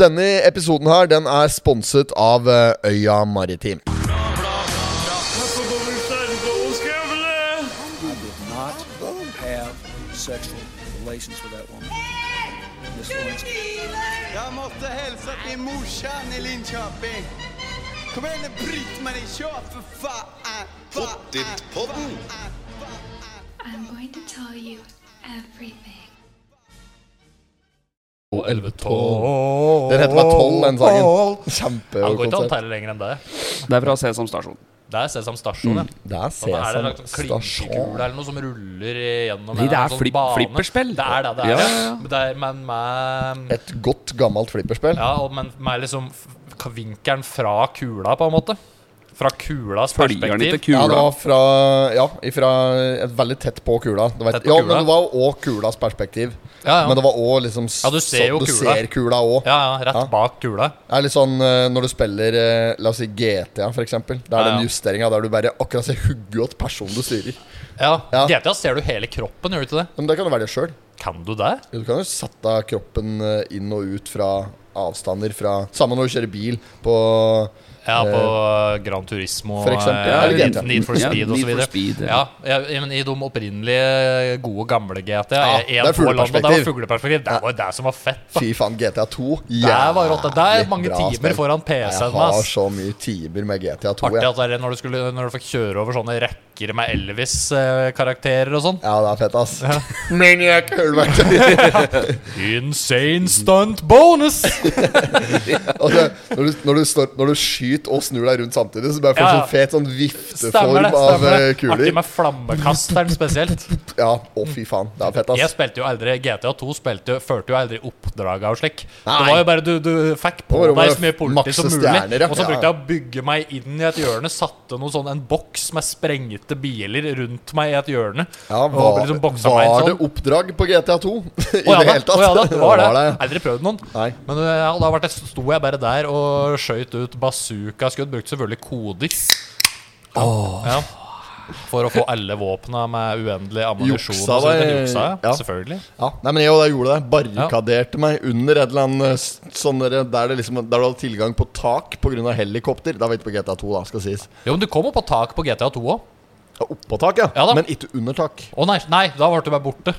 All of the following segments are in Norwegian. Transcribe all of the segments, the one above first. Denne episoden her Den er sponset av eh, Øya Maritim. I did not have sexual relations with that woman. Miss Lewinsky. Jeg måtte hilse til morsan i Linköping. Kom igjen, Britt-Marie, kjør for faen! Pottit-podden! I'm going to tell you everything. Og 11 tonn. Den heter meg 12, den sangen. Han går ikke an å Kjempekonsept. telle lenger enn det. Det er fra Sesam Stasjon. Det er Sesam Stasjon, Mm. ja. Det er Og da er det en Sesam slags klinkekule Stasjon. eller noe som ruller gjennom Nei, det en er sånn flip- bane. flipperspill. Det er det det er. Ja, Ja, ja, ja. Men det er- Men med Et godt, gammelt flipperspill. Ja, og- men med liksom f- k- vinkelen fra kula, på en måte. Fra kulas Følger den perspektiv. ikke Ja, det kula? var fra Ja, ifra et veldig tett på kula. Det var, Tett på ja, kula. men det var jo òg kulas perspektiv. Ja, ja. Men det var òg liksom s- Ja, du ser jo sånn- du kula. ser kula òg. ja, ja, rett Ja. bak kula. Det er litt sånn eh, når du spiller eh, La oss si GTA, for eksempel. Det er Ja, ja. den justeringa der du bare akkurat ser hugget åt personen du styrer. Ja. Ja. GTA ser du hele kroppen, gjør du ikke det? Men det kan du velge sjøl. Kan du det? Du kan jo sette kroppen eh, inn og ut fra avstander fra Samme når du kjører bil på Ja, Eh, på eh, Gran Turismo for eksempel, eh, eller Need- GTA. Need for Ja, Speed og Need så for videre Speed, ja. ja. ja, men I de opprinnelige gode, gamle GTA Ja, eh, det en er på landet, fugleperspektiv. Det var fugleperspektiv. Det var jo det som var fett. da Fy faen, GTA 2. Det var rått. Det er mange Jævlig bra timer spill. foran PC-en. Jeg har ass. så mye timer med GTA 2. Artig jeg. at det er når du, skulle, når du fikk kjøre over sånne rekker med Elvis-karakterer og sånn. Ja, det er fett, ass. Maniac! Hører du meg? Insane stunt bonus! Og det- når, du, når, du står, når du skyter og snur deg rundt samtidig, så bare får du Ja, ja. sånn fet sånn Stemmer vifteform det. av eh, stemmer det Artig kuler. med flammekasteren spesielt. Ja, Å, fy faen. Det er fett, Jeg ass. spilte jo aldri GTA 2 spilte, førte jo aldri oppdraget og slik. Nei. Det var jo bare du, du fikk på Det var jo deg bare så mye politi makse som mulig. stjerner, ja. Og så Ja, brukte ja. jeg å bygge meg inn i et hjørne. Satte noe sånn, en boks med sprengte biler rundt meg i et hjørne. Ja, og var, liksom boksa meg inn var det sånn. oppdrag på GTA 2 i Å, ja, det hele tatt? Å, ja, da, det var det. ja. Aldri prøvd noen. Nei. Men eh, ja, da ble det, sto jeg bare der og skøyt ut bazooka-skudd. Brukte selvfølgelig koder. Ja. Ja. For å få alle våpna med uendelig ammunisjon. Juksa og så videre. deg- Juksa, ja. ja. Selvfølgelig. Ja, nei, men jeg, og jeg gjorde det. Barrikaderte meg under et eller annet eh, s- sånn der, der, det liksom, der du hadde tilgang på tak pga. helikopter. Da var ikke på GTA 2, da, skal sies. Jo, men du kom opp på tak på GTA 2 òg. Ja, Oppå tak, ja. Ja da. men ikke under tak. Å nei, nei, da ble du bare borte.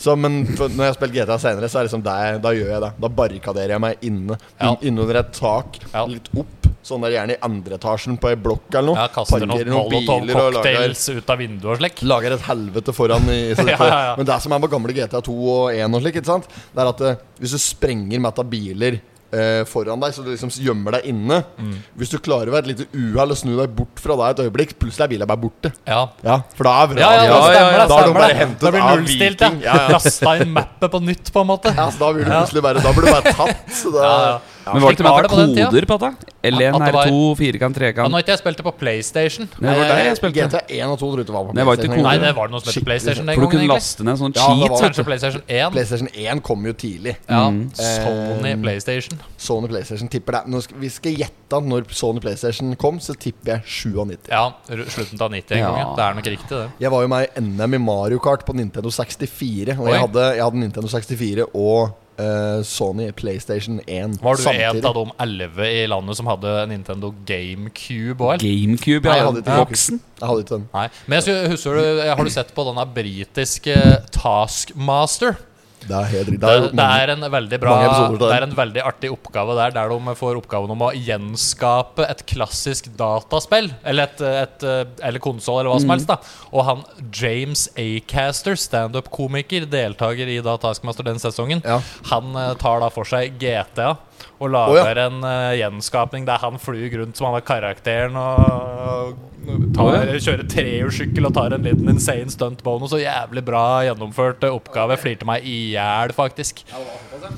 Så, men for, når jeg har spilt GTA senere, så er det liksom det, da gjør jeg det. Da barrikaderer jeg meg inne. Ja. In, Innunder et tak, Ja. litt opp. Sånn der gjerne i andre etasjen på ei blokk eller noe. Ja, kaster noen Parkerer noen biler og lager, molotov-cocktails ut av vinduet og slik. lager et helvete foran. I, så Ja, ja, ja. Men det som er med gamle GTA 2 og 1 og slik, ikke sant? det er at eh, hvis du sprenger mett av biler eh, foran deg, så du liksom gjemmer deg inne Mm. Hvis du klarer ved et lite uhell å snu deg bort fra deg et øyeblikk, plutselig er bilen bare borte. Ja. Ja, for da er Ja, ja, det vraget- Da stemmer det. har du stemmer bare det. hentet Da blir av nullstilt, Viking. ja. Lasta inn mappet på nytt, på en måte. Ja, så da blir du plutselig bare Da blir du bare tatt. Så da, Ja, ja. Men var det ikke Slik var med det på den tida. koder på dette? L1, At det var- R2, firkant, Ja, nå trekant har ikke jeg spilt det på PlayStation. Nei, Det var der jeg spilte. GTA 1 og 2 trodde det var på Det var ikke PlayStation. Nei, kode. det var det noe som het PlayStation den For du gangen. kunne egentlig laste ned sånn Ja, det cheat. var- vet du. Kanskje PlayStation 1. PlayStation 1 kom jo tidlig. Ja, Mm. Sony PlayStation. Sony PlayStation tipper det. Nå skal, vi skal gjette at når Sony PlayStation kom, så tipper jeg 97. Ja, ru- slutten av 90 en Ja. gang. ja. Det er nok riktig, det. Jeg var jo med i NM i Mario Kart på Nintendo 64. Og Oi. jeg hadde, jeg hadde Nintendo 64 og eh, Sony PlayStation 1 Var du samtidig. en av de elleve i landet som hadde Nintendo GameCube òg, eller? GameCube, Nei, jeg ja. hadde ikke Boksen. Jeg hadde ikke den. Nei. Men jeg skulle, husker du, eh, har du sett på denne britiske eh, Taskmaster? Det er helt riktig. Det, Det er det mange- er en veldig bra mange episoder til Det den. er en veldig artig oppgave der, der de får oppgaven om å gjenskape et klassisk dataspill. Eller, et, et, eh, eller konsoll, eller Mhm. hva som helst. da Og han James Acaster, standup-komiker, deltaker i da Taskmaster den sesongen, Ja. han eh, tar da for seg GTA. Og lager Å, en eh, gjenskapning der han flyr rundt som han er karakteren og, og tar, kjører trehjulssykkel og tar en liten insane stunt bonus. Og jævlig bra gjennomført eh, oppgave. Flirte meg i hjel, faktisk.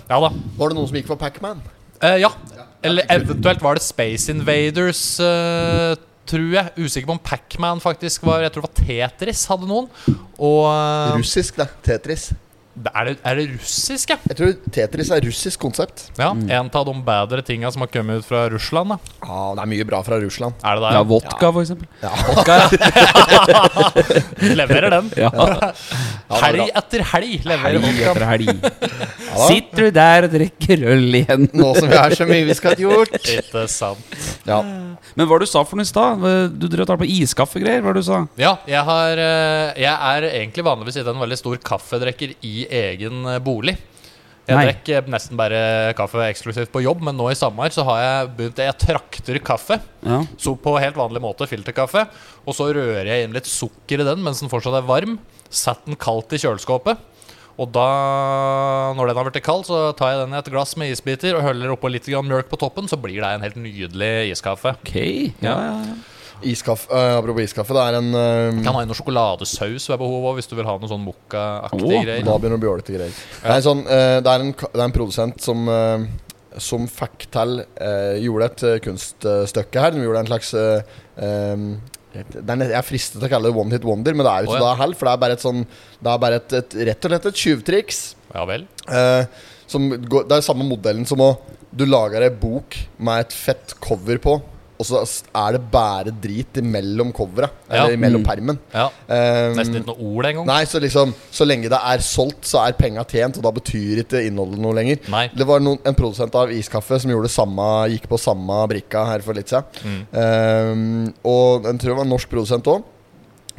Ja da. Var det noen som gikk for Pac-Man? Eh, ja. Eller eventuelt var det Space Invaders, eh, tror jeg. Usikker på om Pacman faktisk var Jeg tror det var Tetris hadde noen. Og eh, Russisk, det. Tetris. er, det, er det russisk, ja? Jeg tror Tetris er russisk konsept. ja En av de bedre tinga som har kommet ut fra Russland. Da. Ja, det er mye bra fra Russland. Er det Ja, der? vodka, for eksempel. Leverer den. Ja. Ja, det er Helg etter helg leverer Helg vodka. etter helg. da. Sitter du der og drikker øl igjen? Nå som vi har så mye vi skal ha gjort. Ikke sant. Ja. Men hva var det du sa for noe i stad? Du drev og tar på iskaffegreier? Hva var det du sa? Ja, jeg, har, eh, jeg er egentlig vanligvis ikke en veldig stor kaffedrekker i egen eh, bolig. Jeg Nei. drikker eh, nesten bare kaffe eksklusivt på jobb, men nå i sommer så har jeg begynt Jeg trakter kaffe. Ja. Så på helt vanlig måte filterkaffe. Og så rører jeg inn litt sukker i den mens den fortsatt er varm. Setter den kaldt i kjøleskapet. Og da, når den har blitt kald, så tar jeg den i et glass med isbiter og høller oppå litt grann mjølk på toppen, så blir det en helt nydelig iskaffe. Ok. Ja, ja, ja. Iskaffe, eh, apropos iskaffe, det er en eh, Kan ha i noe sjokoladesaus ved behov også, hvis du vil ha noe sånn mokka-aktige Åh, greier. Da begynner det å bli ålreite greier. Det er en, sånn, eh, det, er en, ka- det er en produsent som eh, Som fikk til eh, Gjorde et eh, kunststykke her. De gjorde en slags eh, eh, det er, nett- jeg er fristet til å kalle det one hit wonder, men det er jo Å, ikke ja. det er hell. For det er bare et sånn Det er bare et, et, rett og slett et tjuvtriks. Ja vel. eh, som går, det er samme modellen som å Du lager ei bok med et fett cover på, og så er det bare drit imellom coveret. Ja. Eller imellom Mm. permen. Ja. Eh, Nesten ikke noe ord engang. Nei, så liksom Så lenge det er solgt, så er penga tjent, og da betyr ikke innholdet noe lenger. Nei. Det var noen, en produsent av iskaffe som gjorde det samme gikk på samme brikka her for litt Mm. siden. Ehm, og jeg tror det var en norsk produsent òg.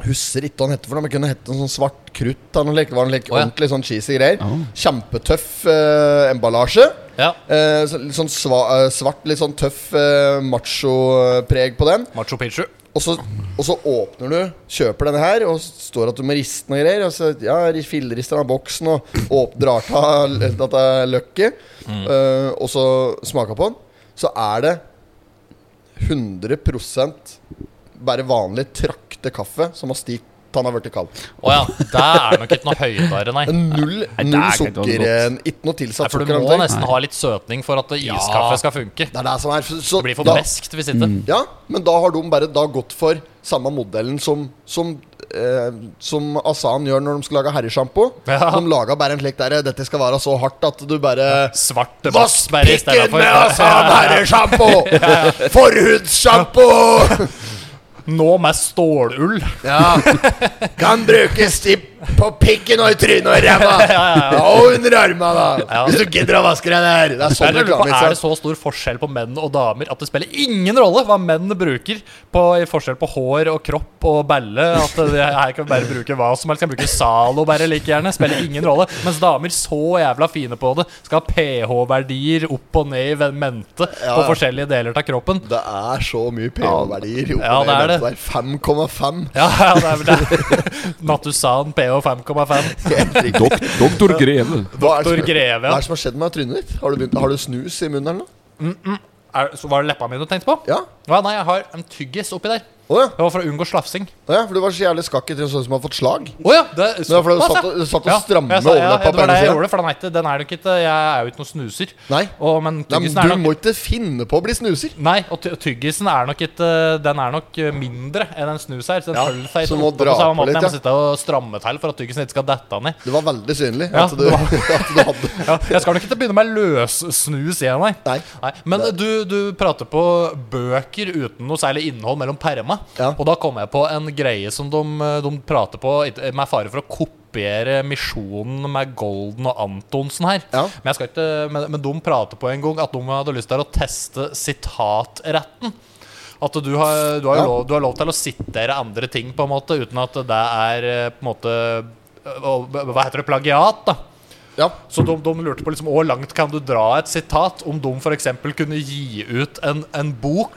Husker ikke hva han hette for noe, men kunne hette noe sånn svart krutt. Eller noe, slikt. det var noe like, Å, ja. Ordentlig sånn cheesy greier. Oh. Kjempetøff eh, emballasje. Ja. Eh, så, litt sånn sva, eh, svart, litt sånn tøff eh, macho-preg på den. Macho Picchu. Og så, og så åpner du, kjøper denne her, og står at du må riste den og greier. Og så ja, fillerister den av boksen og åp- drar av dette løkket. Mm. eh, og så smaker på den. Så er det 100 bare vanlig trakte kaffe som har stilt til han har blitt kald. Å ja, det er nok ikke noe høydere, nei. Null, Nei, det null er ikke sukker. eh, Ikke noe Nei, tilsatt For sukker. du eller må noe. nesten ha litt søtning for at iskaffe skal funke. Det er det som er. Så, så Det blir for da- Mm. beskt hvis ikke. Ja, men da har de bare da gått for samme modellen som Som, eh, som Asan gjør når de skal lage herresjampo. Ja. De laga bare en slik der eh, Dette skal være så hardt at du bare Svarte Vass bassbær i stedet pikken for. med Asan altså! herresjampo! Forhudssjampo! Nå med stålull. Ja. Kan brukes til på pikken og i trynet og i ræva. Og under armene, da. Ja. Hvis du gidder å vaske deg der. Det er Jeg sånn lurer på, reklame. er ikke det sant? så stor forskjell på menn og damer at det spiller ingen rolle hva menn bruker på i forskjell på hår og kropp og balle? At det her kan vi bare bruke hva som helst. Kan bruke Zalo bare like gjerne. Spiller ingen rolle. Mens damer så jævla fine på det. Skal ha pH-verdier opp og ned i ven- mente på Ja, ja. forskjellige deler av kroppen. Det er så mye pH-verdier. Ja, det er det. 5,5. Ja, ja, det er vel det. Natusan pH 5,5. Helt riktig. Doktor Greve. Hva er det Doktor som- Greve, ja. Hva er det som har skjedd med trynet ditt? Har du, begynt, har du snus i munnen eller noe? Er, så var det leppa mi du tenkte på? Ja. Ja, nei, jeg har en tyggis oppi der. Å ja. Det var for å unngå slafsing. Å ja. For du var så jævlig skakk i trynet, sånn som har fått slag. Å ja, det er Det var fordi du såpass, satt, ja. og- du satt og Ja, strammet jeg sa- ja, overleppa Det på var det jeg ene sida. gjorde, for den er ikke, den er nok ikke Jeg er jo ikke noen snuser. Nei. Og, men Nei, men tyggisen du er nok må ikke finne på å bli snuser. Nei, og ty- tyggisen er nok ikke Den er nok eh, mindre enn en snus her. Så den Ja, holder seg så ikke må oppe dra på samme på måte. litt, Jeg må ja. sitte og stramme til for at tyggisen ikke skal dette ned. Det var veldig synlig Ja, at, du, det at du hadde Ja, jeg skal nok ikke begynne med løssnus igjen, nei. Nei. Nei, men du, du prater på bøker uten noe særlig innhold mellom perma. Ja. Og da kom jeg på en greie som de, de prater på ikke- med fare for å kopiere Misjonen med Golden og Antonsen her. Ja. Men, jeg skal ikke, men, men de prater på en gang at de hadde lyst til å teste sitatretten. At du har, du, har jo Ja. lov, du har lov til å sitere andre ting på en måte uten at det er eh, på en måte eh, Hva heter det? Plagiat, da. Ja. Så de, de lurte på liksom, hvor langt kan du dra et sitat om de f.eks. kunne gi ut en, en bok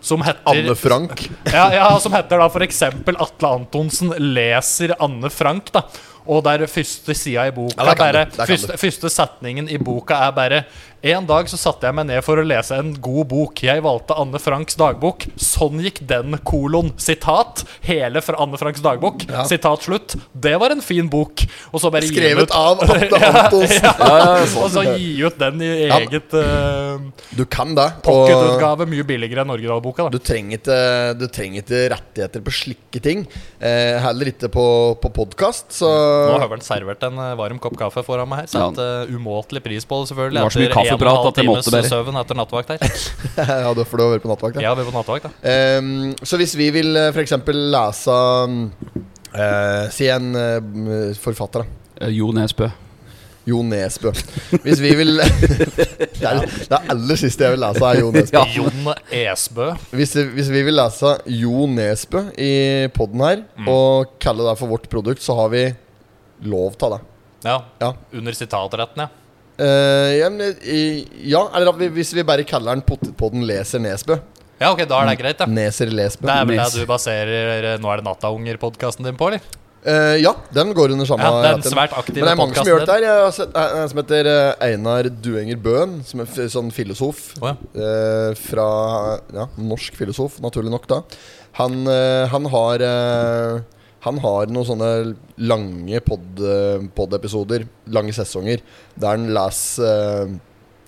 som Anne heter Frank. ja, ja, som heter da f.eks. Atle Antonsen leser Anne Frank. da og der første sida i boka Ja, der er kan bare du, der kan første, du. første setningen i boka er bare En dag så satte jeg meg ned for å lese en god bok. Jeg valgte Anne Franks dagbok. Sånn gikk den kolon. Sitat. Hele fra Anne Franks dagbok. Sitat slutt. Det var en fin bok. Og så bare gi den Skrevet ut. av Atle Antonsen. Og så gi ut den i Ja. eget eh, Du kan det. Og pocketutgave mye billigere enn originalboka. du da trenger ikke, du trenger ikke rettigheter på slike ting. Eh, heller ikke på, på podkast, Nå så har vel servert en eh, varm kopp kaffe foran meg her. Satt eh, umåtelig pris på det, selvfølgelig. Det var så mye etter en og en kaffeprat halv at jeg times måtte bare. søvn etter nattevakt her. Ja, da får du være på nattevakt. ja. Jeg har vært på nattevakt, da. Ehm, så hvis vi vil eh, for eksempel lese mm, Eh, si en eh, forfatter, da. Eh, Jo Nesbø. Jo Nesbø. Hvis vi vil Det er det er aller siste jeg vil lese, er Jo Nesbø. Jon Esbø. Hvis, hvis vi vil lese Jo Nesbø i poden her, Mm. og kalle det for vårt produkt, så har vi lov til det. Ja. Ja. Under sitatretten, ja. Eh, ja, men, i- ja, eller at vi, hvis vi bare kaller den Pottetpodden Leser Nesbø. Ja, ok, da er det Mm. greit, da. Neser Lesbø. Det er vel det Nes. du baserer eh, Nå er det Nattaunger-podkasten din på, eller? Eh, ja, den går under samme Ja, den retten. svært aktive Men det er mange som podcasten gjør det der. Jeg har sett eh, en som heter eh, Einar Duenger Bøen, som er f sånn filosof. Å, eh, fra ja, norsk filosof, naturlig nok, da. Han, eh, han har eh, han har noen sånne lange eh, pod-episoder, lange sesonger, der han leser eh,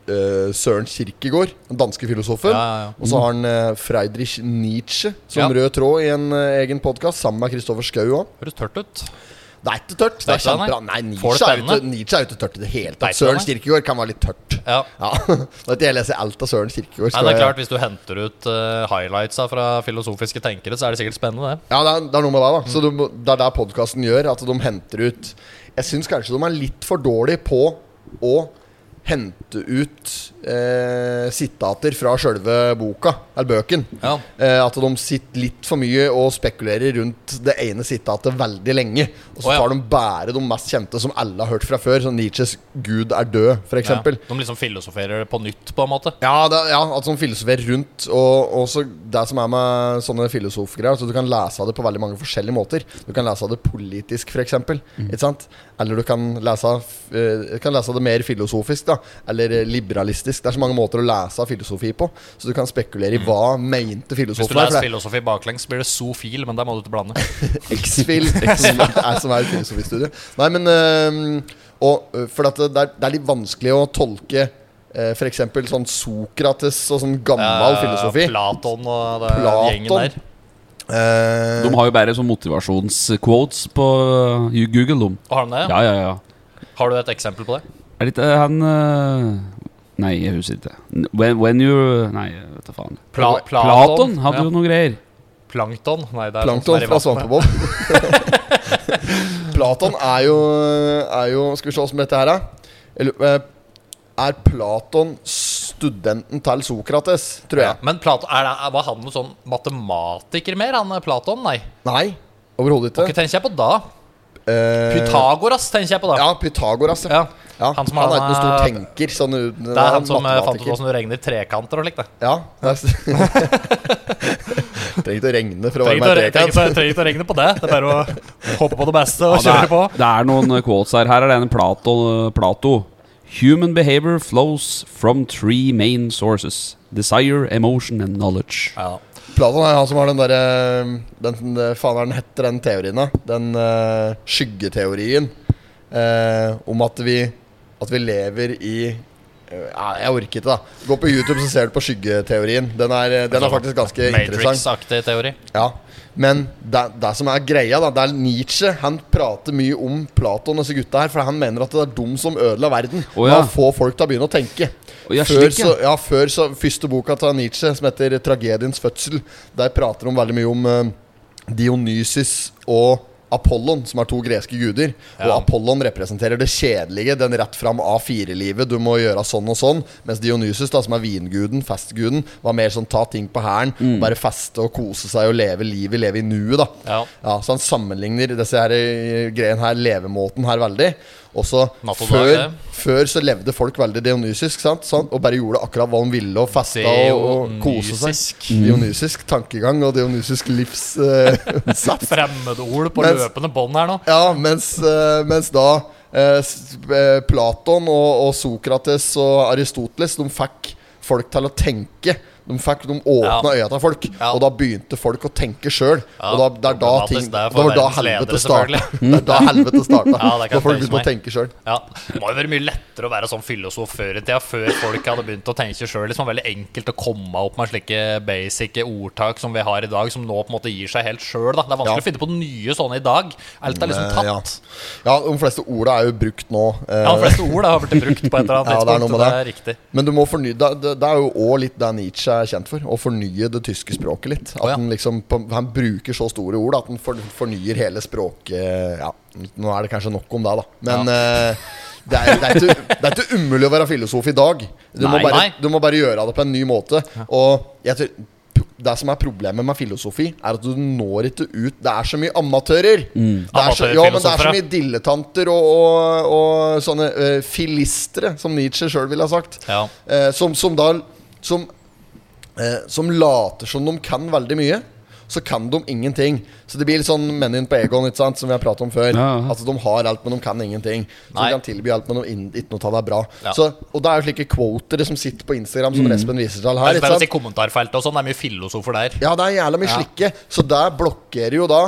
eh, Søren Kirkegård, den danske filosofen. Ja, ja, ja. Og så har han eh, Friedrich Nietzsche som Ja. rød tråd i en eh, egen podkast, sammen med Kristoffer Schou òg. Høres tørt ut. Det er ikke tørt. Det Det er er ikke det, kjempebra. Nei, Får Nietzsche er, det jo spennende? ikke, Nietzsche er jo ikke tørt i det hele Nei, tatt. Søren ikke det, Kirkegård kan være litt tørt. Ja. Ja, Nå vet jeg leser alt av Søren Kirkegård. Nei, skal det er jeg- klart, Hvis du henter ut eh, highlightsa fra filosofiske tenkere, så er det sikkert spennende, det. Ja, det er, det er noe med det, da. Så du, må- det er der podkasten gjør at de henter ut Jeg syns kanskje de er litt for dårlige på å hente ut eh, sitater fra sjølve boka, eller bøken. Ja. Eh, at de sitter litt for mye og spekulerer rundt det ene sitatet veldig lenge. Og så Å, ja. tar de bare de mest kjente som alle har hørt fra før, som Nietzsches 'Gud er død', f.eks. Ja. Ja. De liksom filosoferer det på nytt, på en måte. Ja, det, ja, at sånn filosoferer rundt. Og også det som er med sånne filosofgreier. Altså du kan lese det på veldig mange forskjellige måter. Du kan lese det politisk, f.eks. Mm. sant? Eller du kan lese, f- eh, kan lese det mer filosofisk. da Eller eh, liberalistisk. Det er så mange måter å lese filosofi på. Så du kan spekulere i hva mente Mm. Hvis du filosofen. leser for det er filosofi baklengs, blir det zoofil, men der må du ikke blande. X-Fil som er som er et filosofistudium. Nei, men øhm, og, øh, For at det er, det er litt vanskelig å tolke eh, For f.eks. sånn Sokrates og sånn gammel Eh, filosofi. Platon og det, Platon. gjengen der. Eh, De har jo bare sånn motivasjonsquotes på eh, Google, de. Har, de det? Ja, ja, ja. har du et eksempel på det? Er det ikke eh, han eh, Nei, jeg husker ikke. When, when you Nei, jeg vet da faen. Pla- Platon hadde ja. jo noen greier. Plankton? Nei, det er sånn som Plankton er i fra vannet. Svampebob. Platon er jo, er jo Skal vi se hvordan dette her er. Jeg lurer- eh, Er Platon studenten til Sokrates, tror Ja. jeg? Men Platon, er det, var han noen sånn matematiker mer, han eh, Platon? Nei. Nei, overhodet Hva ikke. tenker jeg på da? Eh, Pythagoras tenker jeg på da. Ja, Pythagoras. Ja. Ja, Han han, som er han ikke noen stor er- tenker. Sånn, uten- Det er han han som eh, fant ut matematiker. hvordan du regner trekanter og slikt. det. Ja. det er- Trenger ikke å regne for å være Trenger med i ikke å- trekant. trenger ikke- trenger ikke å regne på det. Det er bare å håpe på det beste og Ja, det, kjøre på. er, det er noen eh, quotes her. Her er det en Plato, Plato. Human behavior flows from three main sources. Desire, emotion and knowledge. Ja. Platon er han som har den derre den- den- Faen, hva er den heter den teorien, da? Den eh, skyggeteorien eh, om at vi At vi lever i ja, jeg orker ikke, da. Gå på YouTube, så ser du på skyggeteorien. Den er, eh, den er faktisk ganske interessant. Altså, Matrix-aktig teori. Ja, men det, det som er greia, da, det er Nietzsche. Han prater mye om Platon og disse gutta her, for han mener at det er dem som ødela verden. Å, Oh, ja. Få folk til å begynne å tenke. Å, ja, før, slik, ja. så, ja, før så Første boka til Nietzsche, som heter 'Tragediens fødsel', der prater de veldig mye om eh, Dionysus og Apollon, som er to greske guder. Og Ja. Apollon representerer det kjedelige, den rett fram A4-livet. Du må gjøre sånn og sånn. Mens Dionysus, da, som er vinguden, festguden, var mer sånn ta ting på hæren. Bare feste og kose seg og leve livet, leve i nuet, da. Mm. Ja. så han sammenligner disse her eh, greiene her, levemåten her, veldig. Og så Natt og dag, før, det. før så levde folk veldig dionysisk, sant? Sånn, og bare gjorde akkurat hva de ville, og festa og, og kose seg. Dionysisk. Dionysisk tankegang og dionysisk eh, livssaft. Fremmedord på Mens- løpende bånd her nå. Ja, mens, eh, mens da eh, s- eh, Platon og, og Sokrates og Aristoteles De fikk folk til å tenke. De, fikk, de åpna Ja. øya til folk, Ja. og da begynte folk å tenke sjøl. Ja, og da, det er da problematisk ting det er Det for var da verdens ledere, helvete starta. selvfølgelig. Det er da helvete starta. Ja, det kan da folk jeg tenke begynte å meg. tenke sjøl. Ja, Det må jo være mye lettere å være sånn filosof før i tida, før folk hadde begynt å tenke sjøl. Liksom veldig enkelt å komme opp med slike basic ordtak som vi har i dag, som nå på en måte gir seg helt sjøl. Det er vanskelig Ja. å finne på nye sånne i dag. Alt er liksom Eh, ja. tatt. Ja, de fleste orda er jo brukt nå. eh, Ja, De fleste ord da har blitt brukt på et eller annet Ja, det er noe med tidspunkt. og det det. er riktig. Men du må fornye Det, det, det er jo òg litt det Nietzsche er kjent for. Å fornye det tyske språket litt. At ja. han liksom på- Han bruker så store ord at han for, fornyer hele språket Ja, nå er det kanskje nok om det, da. Men eh, det, er, det, er ikke, det er ikke umulig å være filosof i dag. Du, må Nei. bare, Nei. du må bare gjøre det på en ny måte. Og jeg tror det som er problemet med filosofi, er at du når ikke ut Det er så mye amatører. Mm. Det er så, ja, men det er så Amatørfilosofere. mye dilletanter og, og, og sånne eh, filistere, som Nietzsche sjøl ville ha sagt. Ja. Eh, som, som da som, eh, som later som de kan veldig mye. Så kan de ingenting. Så det blir litt sånn menn inn på Egon, ikke sant, som vi har pratet om før. Ja, ja. Altså De har alt, men de kan ingenting. Så Nei. de kan tilby alt, men de inn- ikke noe av det er bra. Ja. Mm. Så, og det er jo slike quotere som sitter på Instagram, som Respen viser til Det her. er Ikke spennende å si sant? kommentarfeltet og sånn. Det er mye filosofer der. Ja, det er jævla mye slikke. Så det blokkerer jo da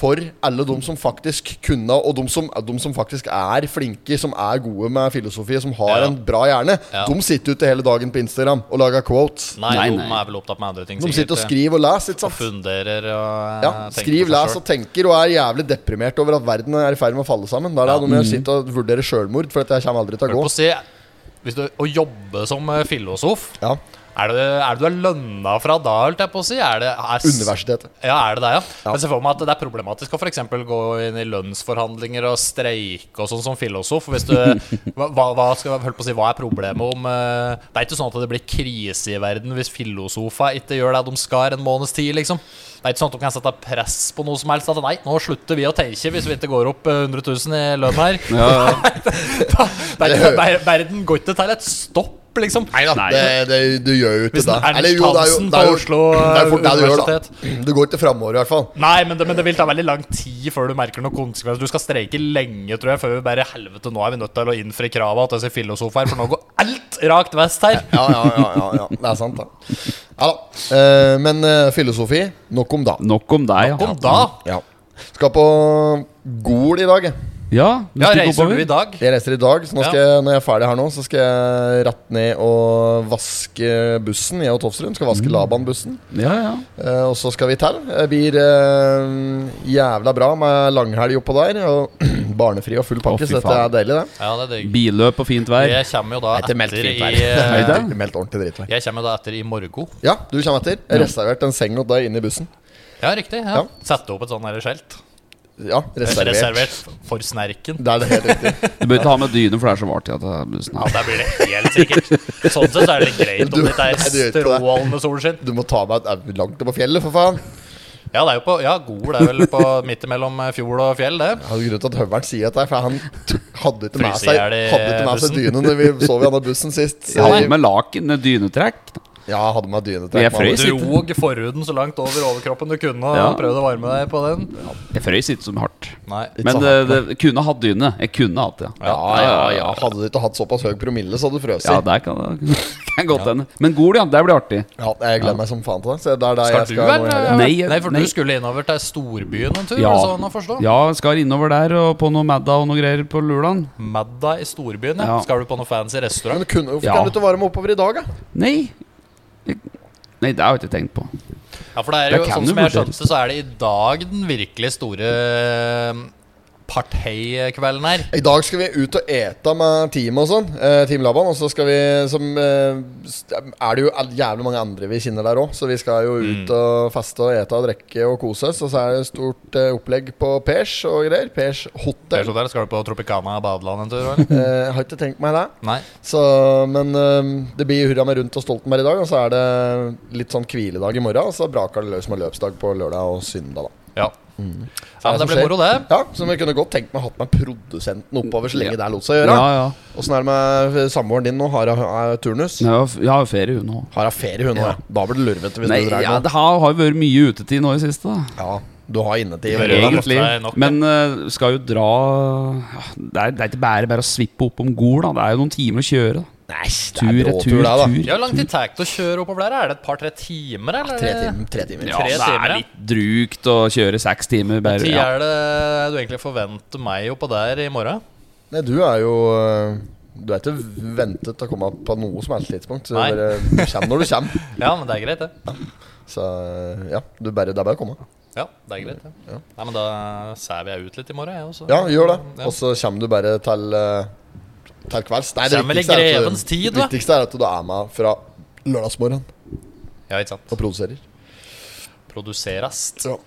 for alle de som faktisk kunne, og de som, de som faktisk er flinke, som er gode med filosofi, som har Ja. en bra hjerne. Ja. De sitter ute hele dagen på Instagram og lager quotes. Nei, Nei, de nei. er vel opptatt med andre ting. De sikkert. eh, sitter og skriver og leser, ikke sant? Funderer eh, og Ja, skriv, les og tenker, og er jævlig deprimert over at verden er i ferd med å falle sammen. Da er det de må sitte og vurdere sjølmord, for dette kommer aldri til å Mm. Hør gå. på å si Hvis du Å jobbe som eh, filosof Ja, Er det er det du er lønna fra da, holdt jeg på å si? Er det er, s- Universitetet. Ja, er det det, ja? Jeg ser for meg at det er problematisk å for eksempel gå inn i lønnsforhandlinger og streike og sånn som filosof. Hvis du, hva, hva- hva, skal, jeg holdt på å si, hva er problemet om eh, Det er ikke sånn at det blir krise i verden hvis filosofer ikke gjør det de skal en måneds tid, liksom. Det er ikke sånn at de kan sette press på noe som helst. At nei, nå slutter vi å tenke hvis vi ikke går opp eh, 100 000 i lønn her. Det er ikke- ver- Verden går ikke til et stopp, liksom. Nei. Det, det, du gjør jo ikke Hvis det. Ernst Eller jo, det er jo- Hansen det er på jo- Oslo, Det er jo fort det du gjør, da. universitet. Du går ikke framover, i hvert fall. Nei, men det, men det vil ta veldig lang tid før du merker noen konsekvenser. Du skal streike lenge, tror jeg, før vi bare Helvete, nå er vi nødt til å innfri krava til disse filosofer, for nå går alt rakt vest her. Ja, ja, ja, ja, ja. Det er sant, da. Ja da. Eh, men eh, filosofi, nok om da. Nok om deg, Kom da! Ja. Skal på Gol i dag. jeg. Ja, du Ja, stikker reiser du oppover. i dag? Jeg reiser i dag, så nå skal Ja. jeg, når jeg er ferdig her nå, så skal jeg rett ned og vaske bussen. Jeg og Tofsrud skal vaske Laban-bussen. Ja, ja. Eh, og så skal vi til. Det blir eh, jævla bra med langhelg oppå der. Og barnefri og full pakke, Å, fy så dette faen. er deilig, det. Ja, det er digg. Billøp og fint vær. Jeg kommer jo da Etter meldt etter fint i vær. Nei, eh, det- Etter meldt ordentlig dritvær. Jeg kommer jo da etter i morgen. Ja, du kommer etter. Jeg har reservert en seng åt deg inne i bussen. Ja, riktig. Ja. Ja. Sette opp et sånn her skjelt. Ja, reservert. Reservert for snerken. Det er det helt riktig. Du bør ikke ha med dyne, for det er så vart i dette bussen. Ja, der blir det helt sikkert. Sånn sett så er det litt greit Du- om det Nei, er du gjør ikke det. strålende solskinn. Du må ta meg et- langt opp på fjellet, for faen. Ja, det er jo på Ja, Gol er vel på midt imellom eh, fjord og fjell, det. Jeg hadde grunn til at Høveren sier dette, for han t- hadde ikke med Fryser seg, ihjel i hadde ikke med seg bussen. dyne når vi sov i denne bussen sist. Så Jeg hadde med laken, dynetrekk. ja, jeg hadde med dyne meg. Jeg frøs. Drog forhuden så langt over overkroppen du kunne, og Ja. prøvde å varme deg på den. Jeg frøys ikke som hardt. Nei. Men så eh, det, det kunne hatt dyne. Jeg kunne hatt det. sånn Ja, ja, ja. Hadde du ikke hatt såpass høy promille, så hadde du frøst. Ja, Ja, der kan det kan godt hende. Men Gol, ja. Der blir artig. jeg gleder meg som faen til det. Så det er der jeg Skal du, skal nå i helgen. eller? Nei, nei, for nei. du skulle innover til storbyen en tur? Ja. Ja. Sånn å forstå. Ja, skal innover der og på noe Madda og noe greier på Lulan. Med deg i storbyen, ja. Ja. Skal du på noe fancy restaurant? Men kunne, hvorfor Ja. kan du ikke varme oppover i dag, da? Nei. Jeg- Nei, det har jeg ikke tenkt på. Ja, for det er Det jo, kan sånn jo som jeg vurderes. skjønte, så er det i dag den virkelig store eh, parteikvelden her. I dag skal vi ut og ete med teamet og sånn. Eh, team Laban. Og så skal vi som eh, s- Er det jo all- jævlig mange andre vi kjenner der òg, så vi skal jo ut Mm. og feste og ete og drikke og kose oss. Og så er det stort eh, opplegg på Pers og greier. Pers Der, hotell. så sånn der skal du på Tropicana badeland en tur, eller? Eh, jeg har ikke tenkt meg det. Nei. Så, men eh, det blir hurra meg rundt og Stoltenberg i dag, og så er det litt sånn hviledag i morgen. Og så braker det løs med løpsdag på lørdag og søndag, da. Ja. ja men som det blir skjer. moro, det. Ja, Så vi kunne godt tenkt meg å ha med produsenten oppover så lenge det lot seg gjøre. Ja, ja. Åssen er det med samboeren din nå? Har hun eh, turnus? Jeg har f- Jeg har jo ferie hun nå. Har hun ferie, hun òg? Da blir det lurvete hvis Nei, du drar ja, nå. det har, har jo vært mye utetid nå i siste, da. Ja, du har innetid. i Det er morgen, da. egentlig- Egentlig. nok, ja. Men eh, skal jo dra ja, det, er, det er ikke bare bare å svippe opp om Gol, da. Det er jo noen timer å kjøre. da Nei, det Tur, er retur, bråtur, det, tur. da. Ja, hvor lang tid tar det å kjøre oppover der? Er det et par-tre timer, eller? Tre timer. Tre timer. Ja, Tre det timer, er ja. litt drugt å kjøre seks timer. Bare, Tid ja. er det du egentlig forventer meg oppå der i morgen? Nei, du er jo eh, Du er ikke ventet til å komme opp på noe som helst tidspunkt. Så Nei. du bare, du kommer når du kommer. Ja, men det er greit, det. Så eh, ja, du bare, det er bare å komme. Ja, det er greit, det. Nei, men da sæver jeg ut litt i morgen, jeg også. Ja, gjør det. Ja. Og så kommer du bare til eh, Til kvelds. Nei, det Kommer i viktigste, er at du- grevens tid, da. viktigste er at du er med fra lørdagsmorgen. Ja, ikke sant. og produserer. Produseres. Ja.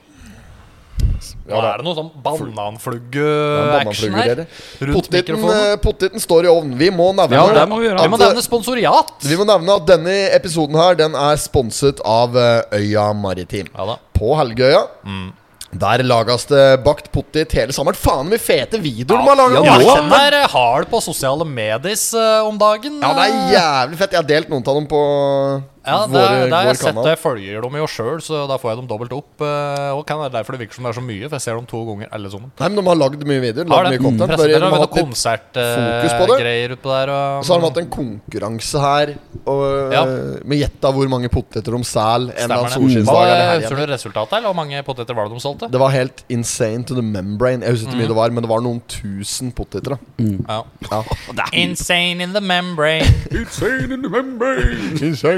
Nå da. er det noe sånn Ja, bananflugge-action her. bananflugegreier. Rundt Potteten, mikrofonen. eh, potteten står i ovnen. Vi må nevne Ja, det må vi gjøre. Vi må at, eh, nevne sponsoriat! vi må nevne at denne episoden her Den er sponset av eh, Øya Maritim. Ja da. På Helgøya. Mm. Der lages det bakt potet hele sommeren. Faen, vi fete videoer de har laga! Ja, nå? den er eh, hard på sosiale medies eh, om dagen. Ja, det er eh. jævlig fett. Jeg har delt noen av dem på Ja, det, våre, det har vår jeg sett. kanal. Jeg følger dem jo sjøl, så da får jeg dem dobbelt opp. eh, Og kan være derfor det virker som det er så mye, for jeg ser dem to ganger alle sammen. Nei, men De har lagd mye videoer. Har Lagd det mye content. Bare presenterer de med har noen hatt litt, fokus på det. konsertgreier utpå der. eh, Og, så har de hatt en konkurranse her og, eh, Ja. med gjetta hvor mange poteter de selger en eller annen Stemmer det. solskinnsdag. eller Hva helgen. tror du resultatet er? Hvor mange poteter var det de solgte? Det var helt insane to the membrane. Jeg husker ikke hvor mye det var, men det var noen tusen poteter. da Ja. ja. Insane in the membrane. Insane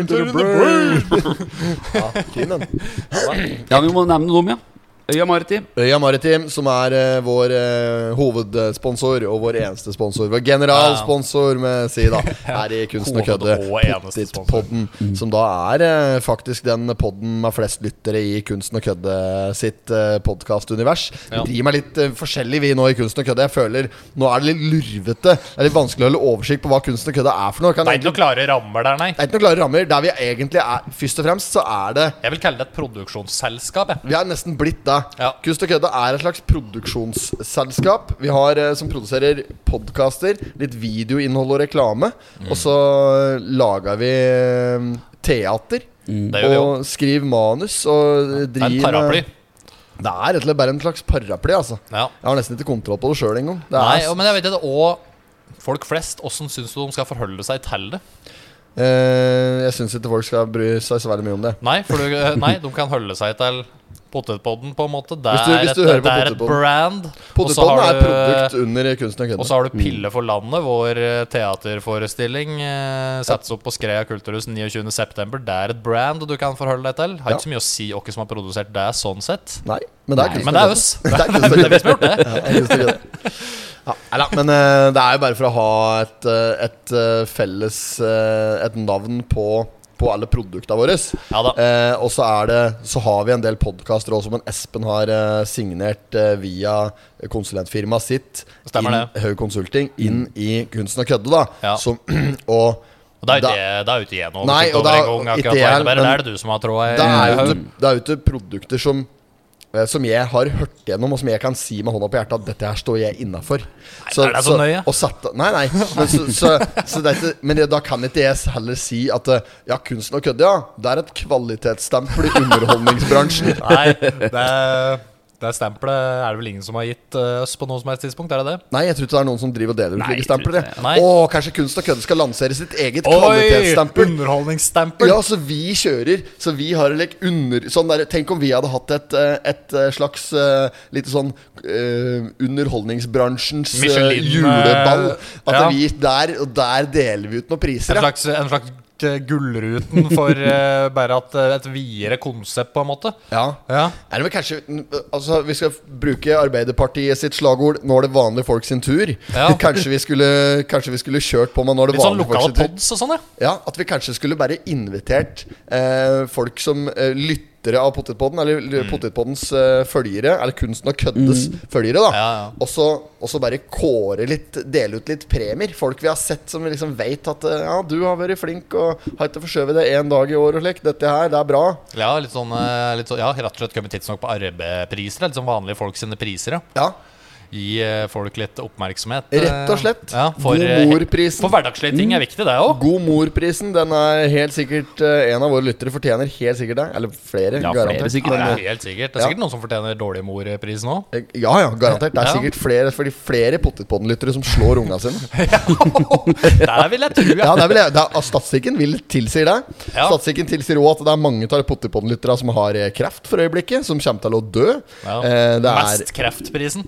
to the brain! ja, fin den. Ja, vi må nevne dem, ja. Øya Maritim. Øya Maritim, som er eh, vår eh, hovedsponsor og vår eneste sponsor. Vår generalsponsor, med si, da, her i Kunsten og Hoved- kødde. og eneste sponsor. Pottitpodden, som da er eh, faktisk den podden med flest lyttere i Kunsten og kødde sitt eh, podkastunivers. Vi Ja. driver med litt eh, forskjellig, vi nå i Kunsten og kødde. Jeg føler nå er det litt lurvete. Det er litt vanskelig å holde oversikt på hva Kunsten og kødde er for noe. Kan Det er ikke noen klare rammer der, nei. Det er ikke noen klare rammer. Der vi egentlig er Først og fremst så er det Jeg vil kalle det et produksjonsselskap. Jeg. Vi er nesten blitt det. Ja. Kunst og kødde er et slags produksjonsselskap Vi har eh, som produserer podkaster, litt videoinnhold og reklame. Mm. Og så lager vi eh, teater. Det gjør vi og skriver manus og Det er en driver paraply. med- Det er rett og slett bare en slags paraply, altså. Ja. Jeg har nesten ikke kontroll på det sjøl engang. Det Nei, er- og- men jeg vet ikke, og folk flest, hvordan syns du de skal forholde seg til det? eh, jeg syns ikke folk skal bry seg så veldig mye om det. Nei, for du, eh, nei, de kan holde seg til potetpodden, på en måte. Det Hvis du- er, hvis du et, hører på det er et potetpodden. brand. og så Potetpodden har er du- produkt under Kunsten og kødde. Mm. Og så har du Pille for landet, vår eh, teaterforestilling. Eh, settes opp på Skrea kulturhus 29.9. Det er et brand du kan forholde deg til. Har Ja. ikke så mye å si hvem som har produsert det, sånn sett. Nei, men det er Nei, kunst å Men det er kødde. oss. Det er kunst å kødde. Ja, jeg synes det er gøy. Ja, nei da, men eh, det er jo bare for å ha et, eh, et eh, felles eh, Et navn på, på alle produktene våre. Ja da. Eh, og så er det Så har vi en del podkaster også, men Espen har eh, signert eh, via konsulentfirmaet sitt, Stemmer inn- Haug Consulting, inn i Kunsten å kødde, da. Ja. Som, og Og det er jo Da- ikke- det er jo ikke jeg noe Nei, oversikt og over det er engang. ikke akkurat jeg, hva det innebærer. Det men er det du som Eh, har tråd i. det er jo Haug. ikke, det er jo ikke produkter som eh, som jeg har hørt gjennom, og som jeg kan si med hånda på hjertet at dette her står jeg innafor. er det så nøye? Og satt, nei, nei. Men, så, så, så det er ikke- men det, da kan ikke jeg heller si at eh, ja, kunsten å kødde, ja. Det er et kvalitetsstempel i underholdningsbransjen. Nei, det, er- det er stempelet er det vel ingen som har gitt eh, oss på noe som helst tidspunkt, er det det? Nei, jeg tror ikke det er noen som driver og deler ut Nei, slike jeg tror stempler. ikke jeg. det. Nei. Å, kanskje kunst og kødde skal lansere sitt eget kvalitetsstempel. Underholdningsstempel! Ja, så vi kjører. Så vi har en lek under sånn der, Tenk om vi hadde hatt et, eh, et eh, slags eh, lite sånn eh, underholdningsbransjens eh, Michelin, eh, juleball. At ja. vi der, og der deler vi ut noen priser. En Ja. slags, en slags eh, Gullruten for eh, bare at eh, et videre konsept, på en måte. ja. Ja. Er det vel kanskje n- Altså, vi skal f- bruke Arbeiderpartiet sitt slagord 'Nå er det vanlige folk sin tur'. Ja. Kanskje, vi skulle, kanskje vi skulle kjørt på med 'Nå er det Litt sånn vanlige folk sin lokale tur'. pods og sånn, ja. Ja, at vi kanskje skulle bare invitert eh, folk som eh, lyttere av Potetpodden, eller mm. Potetpoddens eh, følgere, eller Kunsten og køddes følgere, da. Ja, ja. Og så og så bare kåre litt, dele ut litt premier. Folk vi har sett som vi liksom veit at eh, Ja, du har vært flink og har ikke forskjøvet det én dag i år og slik. Dette her, det er bra. Ja, litt sånn, eh, litt sånn Ja, rett og slett kommet tidsnok på arbeidspriser. Litt sånn vanlige folk sine priser, ja. Ja, Gi eh, folk litt oppmerksomhet. eh, rett og slett. Ja, for, God eh, mor-prisen. for hverdagslige ting er viktig, det òg. God mor-prisen, den er helt sikkert eh, En av våre lyttere fortjener helt sikkert det. Eller flere, Ja, flere garantert. sikkert. Ja, det er helt sikkert. Det er Ja. sikkert noen som fortjener dårlig mor-pris nå. Eh, Ja, ja, garantert. Det er Ja. sikkert flere Fordi flere Pottetpodden-lyttere som slår unga sine. Der vil jeg tro, ja. Ja, det er vel, det er, altså, Statistikken vil tilsier det. Ja. Statistikken tilsier òg at det er mange av Pottetpodden-lytterne som har eh, kreft for øyeblikket, som kommer til å dø. ja. Eh, det er Mest kreftprisen.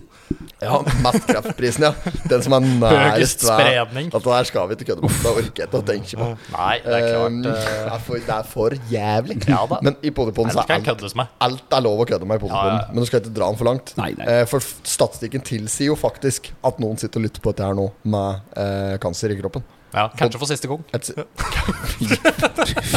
ja, mest kreftprisen, ja. Den som er nærest Høyest spredning. At det der skal vi ikke kødde med. Det orker jeg ikke å tenke på. Nei, det er klart. Eh, det, er for, det er for jævlig. Ja da. Men i Pottetpodden så Det er kan alt køddes med. Alt er lov å kødde med i Ja, Potterpodden, ja, ja. men du skal ikke dra den for langt. Nei, nei. Eh, for f- statistikken tilsier jo faktisk at noen sitter og lytter på dette her nå med eh, kanser i kroppen. Ja, kanskje for siste gang. Et, si- kanskje for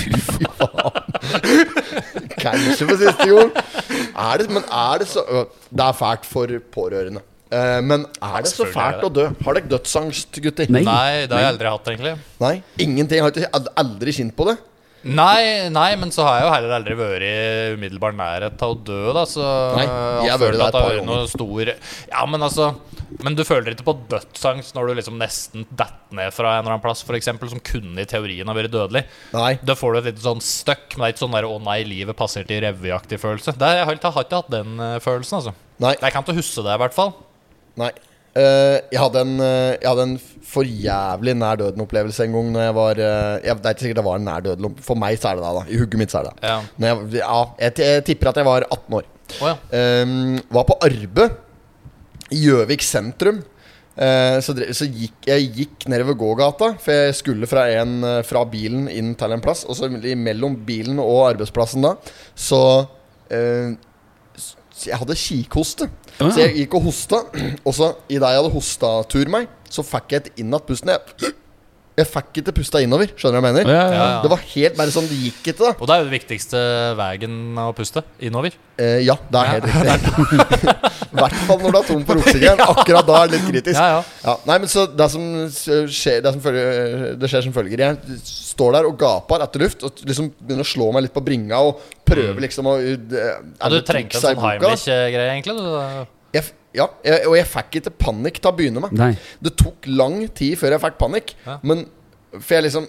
siste gang. Er det, men er det så øh, Det er fælt for pårørende. Eh, men er det så selvfølgelig er fælt å dø? Har dere dødsangst, gutter? Nei. Nei, det har jeg aldri hatt, egentlig. Nei? Ingenting? Har dere ald- aldri kjent på det? Nei, nei, men så har jeg jo heller aldri vært i umiddelbar nærhet av å dø, da. Så Nei, øh, jeg har vært føler der at et par det har vært ganger. noe stor Ja, men altså Men du føler ikke på dødsangst når du liksom nesten detter ned fra en eller annen plass, f.eks., som kunne i teorien ha vært dødelig. Nei. Da får du et lite sånn støkk, men det er ikke sånn der 'å nei, livet passerte i revyaktig' følelse. Det, jeg har ikke har ikke hatt den øh, følelsen, altså. Nei. Jeg kan ikke huske det, i hvert fall. Nei. Eh, jeg, hadde en, eh, jeg hadde en for jævlig nær døden-opplevelse en gang Når jeg var eh, jeg, Det er ikke sikkert det var en nær døden opplevelse. For meg så er det det, da. I hugget mitt så er det det. Ja. Når jeg, ja, jeg, t- jeg tipper at jeg var 18 år. Å ja. Ehm, var på arbeid i Gjøvik sentrum. Eh, så drev, så gikk, jeg gikk nedover gågata, for jeg skulle fra, en, eh, fra bilen inn til en plass. Og så i- mellom bilen og arbeidsplassen da, så eh, s- Jeg hadde kikhoste. Ah. Så jeg gikk og hosta, og så i det jeg hadde hosta tur meg, så fikk jeg et innat pusten. Jeg, jeg fikk ikke pusta innover, skjønner du hva jeg mener? Ja, ja, Ja, ja. Det var helt bare sånn, det gikk ikke, da. Og det er jo det viktigste veien å puste innover. Eh, ja, det er helt riktig. I hvert fall når du er tom for oksygen. Akkurat da er det litt kritisk. Ja, ja. nei, men så Det som skjer, det som, følger, det skjer som følger Jeg står der og gaper etter luft og liksom begynner å slå meg litt på bringa og prøver liksom å eh, Mm. Ja, er du det trengte en triksa i sånn boka? Heimlich-greie, egentlig. Du. Jeg, f- ja, jeg, og jeg fikk ikke panikk til å begynne med. Nei. Det tok lang tid før jeg fikk panikk. Ja. Men For jeg liksom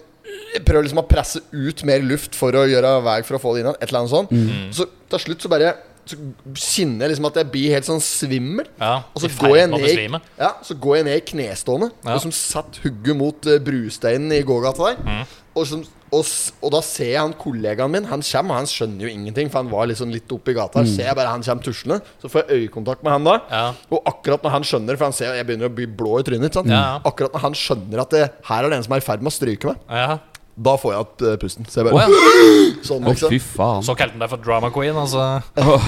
jeg prøver liksom å presse ut mer luft for å gjøre vei for å få det inn igjen. Et eller annet sånt. Så til slutt så bare Så kjenner jeg liksom at jeg blir helt sånn svimmel. Ja, Og så i går, jeg ferd med å ned, Altså, i- besvime. ja, så går jeg ned i knestående Ja. og som satt hugget mot eh, brusteinen i gågata der. Mm. Og, som, og, s- og da ser jeg han kollegaen min. Han kommer, og han skjønner jo ingenting, for han var liksom litt oppe i gata. Mm. her Ser jeg bare han kommer tuslende, så får jeg øyekontakt med han da. Ja. Og akkurat når han skjønner, for han ser jeg begynner å bli blå i trynet, ikke sant? Ja, ja. akkurat når han skjønner at det, her er det en som er i ferd med å stryke meg, Ja. da får jeg at eh, pusten. Så jeg Å bare ja. sånn, Å, liksom. fy faen. Så kalte han deg for drama queen, altså.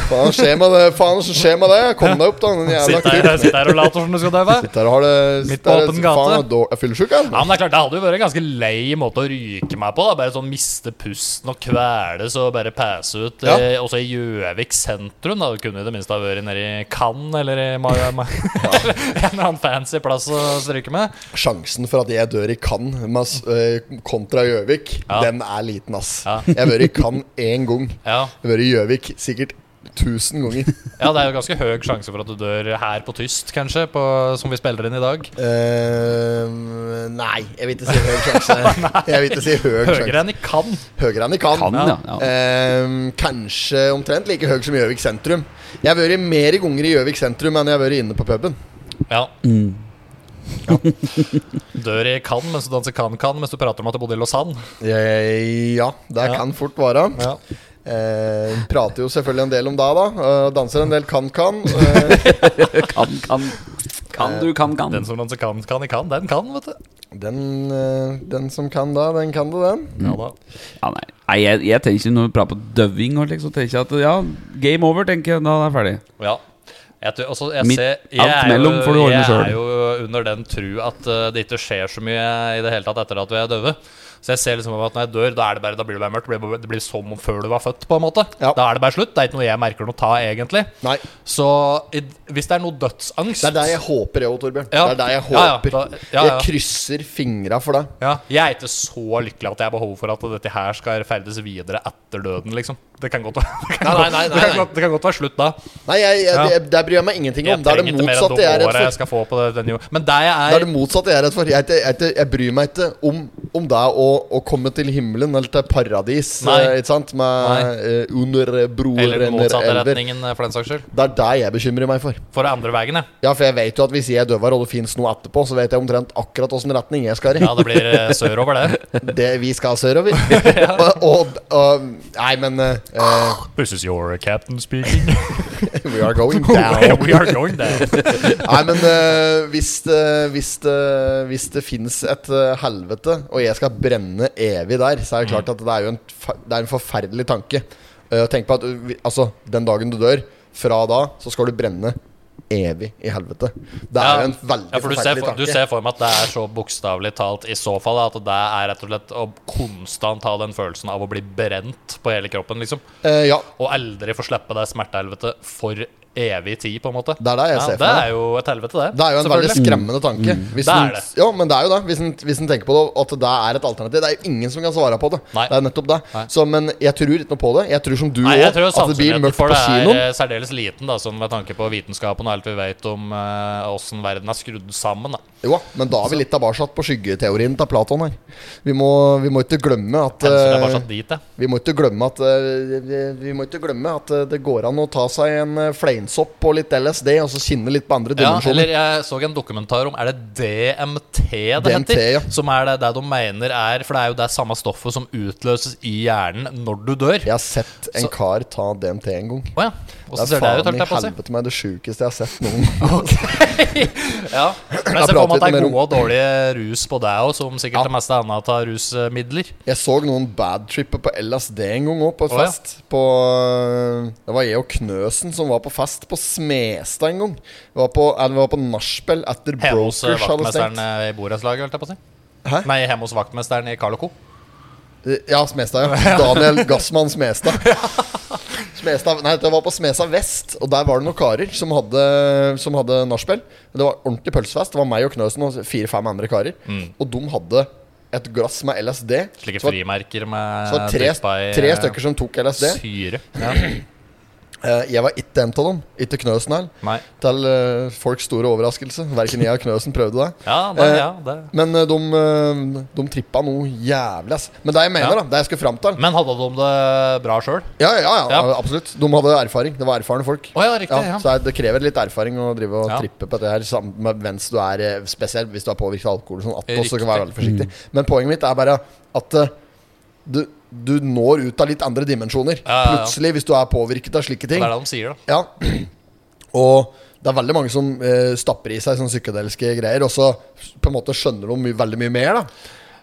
Faen, skjer med det? Faen, skjer med det? Kom deg opp, da. Den jævla Sitt kutt. der, sitt der og later som du skal dø. vel? Der har det Midt på der- åpen gate. Faen, jeg er dår- jeg er fyllesyk, jeg. altså. Ja, men det er klart, det hadde jo vært en ganske lei måte å ryke meg på. da Bare sånn miste pusten og kveles og bare pæse ut. Ja. Eh, også i Gjøvik sentrum. da Du kunne i det minste ha vært nede i Cannes eller i Ma Ma en eller annen fancy plass å stryke med. Sjansen for at jeg dør i Cannes med, eh, kontra Gjøvik, Ja. den er liten, ass. Ja. Jeg har vært i Cannes én gang. Jeg Ja. har vært i Gjøvik sikkert tusen ganger. ja, det er jo ganske høy sjanse for at du dør her på Tyst, kanskje, på, som vi spiller inn i dag. Eh, nei, jeg vil ikke si høy sjanse. Jeg vil ikke si høy sjanse. Høyere enn i Cannes. Høyere enn i Cannes. Kan, ja. ja. Ehm, kanskje omtrent like høy som Gjøvik sentrum. Jeg har vært mer ganger i Gjøvik sentrum enn jeg har vært inne på puben. Ja. Mm. Dør i Cannes mens du danser Can-Can mens du prater om at du bodde i Lausanne. Jeg, Eh, ja, det Ja. kan fort være. Ja. Ehm, prater jo selvfølgelig en del om deg, da. Eh, danser en del kan-kan. Eh, Kan, kan. Kan du, kan, kan. Den som danser Can-Can i Cannes, den kan, vet du. den, eh, den som kan da, den kan det, den. Mm. Ja da. Ja, nei. nei jeg, jeg tenker når vi prater på døving, og slik, så tenker jeg at ja, game over, tenker jeg. Da er jeg ferdig. Ja. Jeg, tror- altså, jeg Midt- ser, jeg alt er mellom får du jo, ordne jeg selv. er jo under den tru at eh, det ikke skjer så mye i det hele tatt etter at vi er døve. Så jeg ser liksom at når jeg dør, da, er det bare, da blir det bare mørkt. Det blir, det blir som om før du var født, på en måte. Ja. Da er det bare slutt. Det er ikke noe jeg merker noe ta, egentlig. Nei, Så i, hvis det er noe dødsangst det er der jeg håper, jeg òg, Torbjørn. Ja. Det er der jeg Ja, ja, håper. da- ja, ja. Jeg krysser fingra for deg. Ja, Jeg er ikke så lykkelig at jeg har behov for at dette her skal ferdes videre etter døden, liksom. Det kan godt, det kan Nei, godt, nei, nei, det kan nei. godt, det kan godt være slutt da. Nei, jeg, jeg, Ja. det, der bryr jeg meg ingenting om. Jeg Det er det trenger ikke mer enn motsatte det jeg er redd året for. jeg skal få på den jorden. Men det jeg Det er er det motsatte jeg er redd for. Jeg, er ikke- jeg, er ikke- jeg bryr meg ikke om, om det å, å komme til himmelen eller til paradis. Nei. eh, Ikke sant? Med eh, under broer Eller den eller motsatte elver. retningen, eh, for den saks skyld. Det er det jeg bekymrer meg for. For det andre veien, ja. Ja, For jeg vet jo at hvis jeg er døver, og det fins noe etterpå, så vet jeg omtrent akkurat åssen retning jeg skal i. Ja, det blir eh, sørover, det. Det vi skal sørover. og, og, og Nei, men eh, eh, This is your captain speaking. We are going down. We are going down. Nei, men eh, hvis, det- hvis, det- hvis det finnes et eh, helvete, og jeg skal brenne evig der, så er det klart at det er jo en, fa- det er en forferdelig tanke. Eh, Tenk på at eh, vi- altså, den dagen du dør, fra da så skal du brenne evig i helvete. Det er Ja. jo en veldig ja, for du ser, forferdelig for, du tanke. ser for meg at det er så bokstavelig talt i så fall at det er rett og slett å konstant ha den følelsen av å bli brent på hele kroppen, liksom. Eh, ja, Og aldri få slippe det smertehelvetet for evig tid, på en måte. Det er det jeg ser for Det meg. er jo et helvete, det. Det er jo en veldig Selvfølgelig. skremmende tanke. Hvis Det er en- det. Ja, men det er jo det. Hvis en, hvis en tenker på det, at det er et alternativ. Det er jo ingen som kan svare på det. Nei. Det er nettopp det. Nei. Så, men jeg tror ikke noe på det. Jeg tror som du Nei, òg, jeg tror at det blir sannsynligheten mørkt for på det er kinoen. eh, særdeles liten, da, sånn med tanke på vitenskapen og alt vi vet om eh, åssen verden er skrudd sammen. Da. Jo, men da er vi litt tilbake på skyggeteorien til Platon her. Vi må, vi må ikke glemme at Pensel er eh, bare sånn. satt dit, jeg. Vi må ikke glemme at eh, vi- Vi må ikke glemme at eh, det går an å ta seg en eh, fleinsopp og litt LSD, og så kjenne litt på andre Ja, dimensjoner. eller jeg så en dokumentar om Er det DMT det DMT, heter? ja. Som er det, det de mener er For det er jo det samme stoffet som utløses i hjernen når du dør. Jeg har sett en Så- kar ta DMT en gang. Å ja. Åssen ser det ut, holdt i jeg på å si? helvete meg det sjukeste jeg har sett noen gang. altså. Ja. Men Jeg jeg ser for meg prater at det er litt mer om- gode og dårlige rus på deg òg, som sikkert det meste annet av rusmidler. Jeg så noen badtrippe på LSD en gang òg, på et Å, ja. fest. På, det var jeg og Knøsen som var på fest på Smestad en gang. Vi var på, eller, vi var på nachspiel etter Hjemme hos eh, Brokers hadde vaktmesteren stengt. eh, i borettslaget, holdt jeg på å si. Hæ? Nei, hjemme hos vaktmesteren i Carl Co. eh. Ja, Smestad, ja. Daniel Gassmann Smestad. Smestad Nei, det var på Smestad vest, og der var det noen karer som hadde, som hadde nachspiel. Det var ordentlig pølsefest. Det var meg og Knøsen og fire-fem andre karer. Og de hadde et glass med LSD. Mm. Slike Så var- frimerker med så var tre, dryppa Eh, i, tre eh, stykker som tok LSD. syre. Eh, Jeg var ikke en av dem. Ikke Knøsen her. Nei. Til eh, folks store overraskelse. Verken jeg eller Knøsen prøvde det. Ja, det, Eh, ja, det. Men eh, de, eh, de trippa noe jævlig, ass. Men det jeg mener, Ja. da, det jeg skulle fram til Men hadde de det bra sjøl? ja, ja, ja, Ja. absolutt. De hadde erfaring. Det var erfarne folk. Å ja, riktig. Ja, Ja. så det er- det krever litt erfaring å drive og Ja. trippe på dette her sammen med mens du er eh, Spesielt hvis du er påvirket av alkohol. og Sånn, at også Riktig. kan være veldig forsiktig Men poenget mitt er bare at eh, du, du når ut av litt andre dimensjoner. Ja, ja, ja. Plutselig, hvis du er påvirket av slike Det ting. er det de sier, da. Ja. Og det er veldig mange som eh, stapper i seg sånne psykedeliske greier, og så på en måte skjønner de my veldig mye mer, da.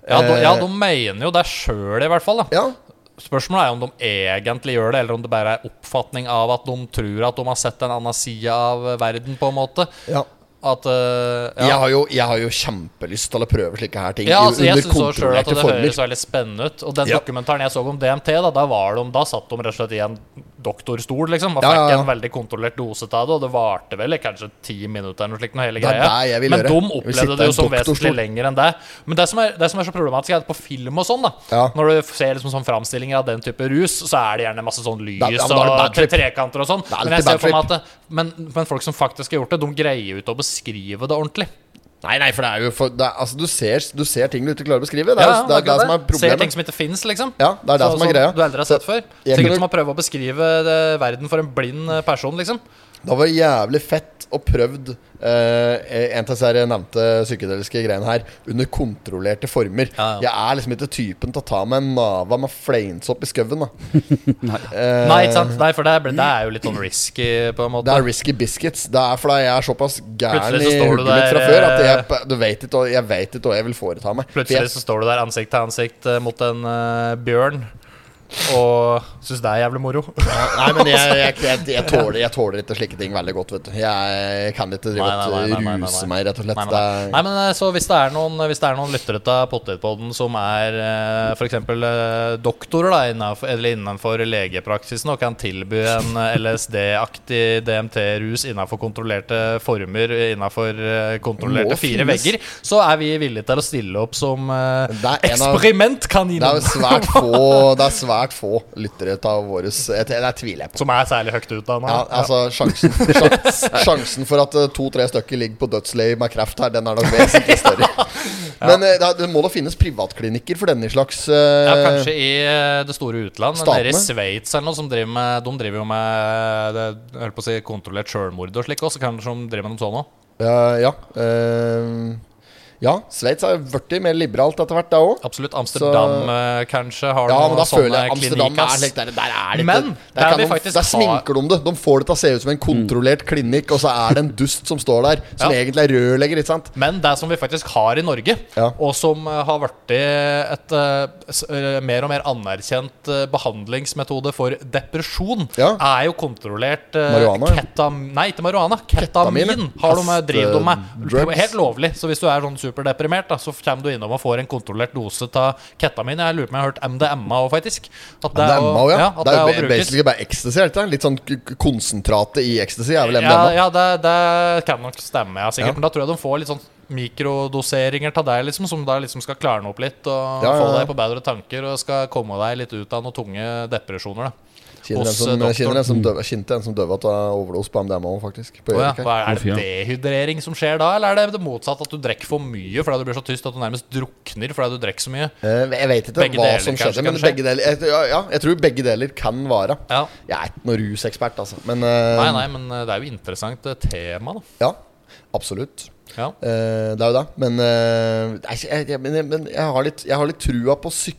Ja, de, ja, Eh. de mener jo det sjøl, i hvert fall. da Ja, Spørsmålet er om de egentlig gjør det, eller om det bare er oppfatning av at de tror at de har sett en annen side av eh, verden, på en måte. ja. At eh, Jeg, har jo, jeg har jo kjempelyst til å prøve slike her ting Ja, i- altså, jeg synes også selv at det former. høres veldig spennende ut. Og den Ja. dokumentaren jeg så om DMT, da, da, var de, da satt de rett og slett i en doktorstol liksom, og Ja, ja, fikk ja. en veldig kontrollert dose av det. Og det varte vel i kanskje ti minutter eller noe slikt. noe Hele Det er greia. der jeg vil Men gjøre. de Jeg vil sitte opplevde i det en jo som vesentlig doktorstol. lenger enn det. Men det som er, det som er så problematisk, er at på film og sånn, da Ja. når du ser liksom sånn framstillinger av den type rus, så er det gjerne masse sånn lys Da- ja, men da er det og bad trip. trekanter og sånn. er Men, alltid bad jeg ser for meg at det, men, men folk som faktisk har gjort det, de greier jo ikke å beskrive det ordentlig. Nei, nei, for det er jo for, det er, Altså, du ser, du ser ting du ikke klarer å beskrive. Det er, Ja, jo- det, er det, akkurat som er Ser ting problemet. som ikke fins, liksom. Ja, det er det Så- som er greia. Du aldri har sett før. jeg Sikkert kunne- som å prøve å beskrive det, verden for en blind eh, person, liksom. Det var jævlig fett og prøvd eh, en av disse her nevnte psykedeliske greiene her under kontrollerte former. Ja, ja. Jeg er liksom ikke typen til å ta meg en nava med fleinsopp i skauen, da. Eh, Nei, ikke sant? Nei, for det, er- det er jo litt sånn risky, på en måte. Det er risky biscuits. Det er fordi jeg er såpass gæren Plutselig i så står du hodet mitt fra der, før at eh, jeg, du vet ikke, hva- jeg vet ikke hva jeg vil foreta meg. For Plutselig jeg, så står du der ansikt til ansikt eh, mot en eh, bjørn og syns det er jævlig moro. nei, men jeg, jeg, jeg, jeg, tåler, jeg tåler ikke slike ting veldig godt, vet du. Jeg kan ikke drive og ruse meg, rett og slett. Nei, nei, nei. Det er- nei, men eh, så hvis det er noen, hvis det er noen lyttere til Potetpodden som er eh, for eksempel eh, doktorer da, innenfor, eller innenfor legepraksisen og kan tilby en eh, LSD-aktig DMT-rus innenfor kontrollerte former, innenfor eh, Det må kontrollerte fire finnes. vegger, så er vi villige til å stille opp som eh, Det er en av- Det er jo eksperimentkaninen svært få Det er svært få lyttere av våre Det tviler jeg på. som er særlig høyt utdanna. Ja, altså Sjansen, sjans, sjansen for at eh, to-tre stykker ligger på dødsleiet med kreft her, den er nok vesentlig større. Men eh, det, er- det må da finnes privatklinikker for denne slags eh, Ja, kanskje i eh, det store utland. Statene? Nede i Sveits eller noe, som driver med, de driver jo med det, jeg holdt på å si, kontrollert sjølmord og slik også. Kanskje de driver med noe sånt òg. eh, ja, eh, Ja, Sveits har blitt mer liberalt etter hvert, det òg. Absolutt. Amsterdam eh, kanskje har Ja, noen men da sånne føler jeg Amsterdam er klinikas. slik der, der er det ikke Men der, der kan vi de, faktisk Mm. der sminker de det. De får det til å se ut som en kontrollert klinikk, og så er det en dust som står der, som Ja. egentlig er rørlegger, ikke sant? Men det som vi faktisk har i Norge, Ja. og som eh, har blitt et eh, s- eh, mer og mer anerkjent eh, behandlingsmetode for depresjon, Ja. er jo kontrollert eh, Marihuana, ja. ketam... Nei, ikke marihuana. Ketamin, Ketamin, ja. har de, eh, driver de Fast, eh, med. drugs. Helt lovlig. Så hvis du er sånn superdeprimert, da, så kommer du innom og får en kontrollert dose av ketamin. Jeg lurer på om jeg har hørt MDMA òg, faktisk. At Det er å- MA, ja. at Det er å jo brukes. basically bare ecstasy. er det ikke det? Litt sånn k- k- konsentratet i ecstasy er vel MDMA. Ja, ja det, det kan nok stemme, ja, sikkert. Ja. Men da tror jeg de får litt sånn mikrodoseringer av deg, liksom, som da liksom skal klarne opp litt og Ja, ja, få ja. deg på bedre tanker og skal komme deg litt ut av noen tunge depresjoner, da. Kjenner en Hos, som, eh, jeg kjenner en doktoren. som døv, jeg kjente en som døde av overdose på MDMA, faktisk. På Å ja, Gjøvik her. hva er, Å, fy, ja. det dehydrering som skjer da, eller er det det motsatte? At du drikker for mye fordi du blir så tyst at du nærmest drukner fordi du drikker så mye? Eh, Jeg vet ikke Begge hva deler som kanskje skjedde, men kan skje. begge deler jeg, ja, ja, jeg tror begge deler kan være. Ja. Jeg er ikke noen rusekspert, altså. Men eh, Nei, nei, men eh, det er jo interessant eh, tema, da. ja, absolutt. Ja. Eh, det er jo det. Men, eh, nei, jeg, jeg, men, jeg, men jeg, har litt, jeg har litt trua på psyke,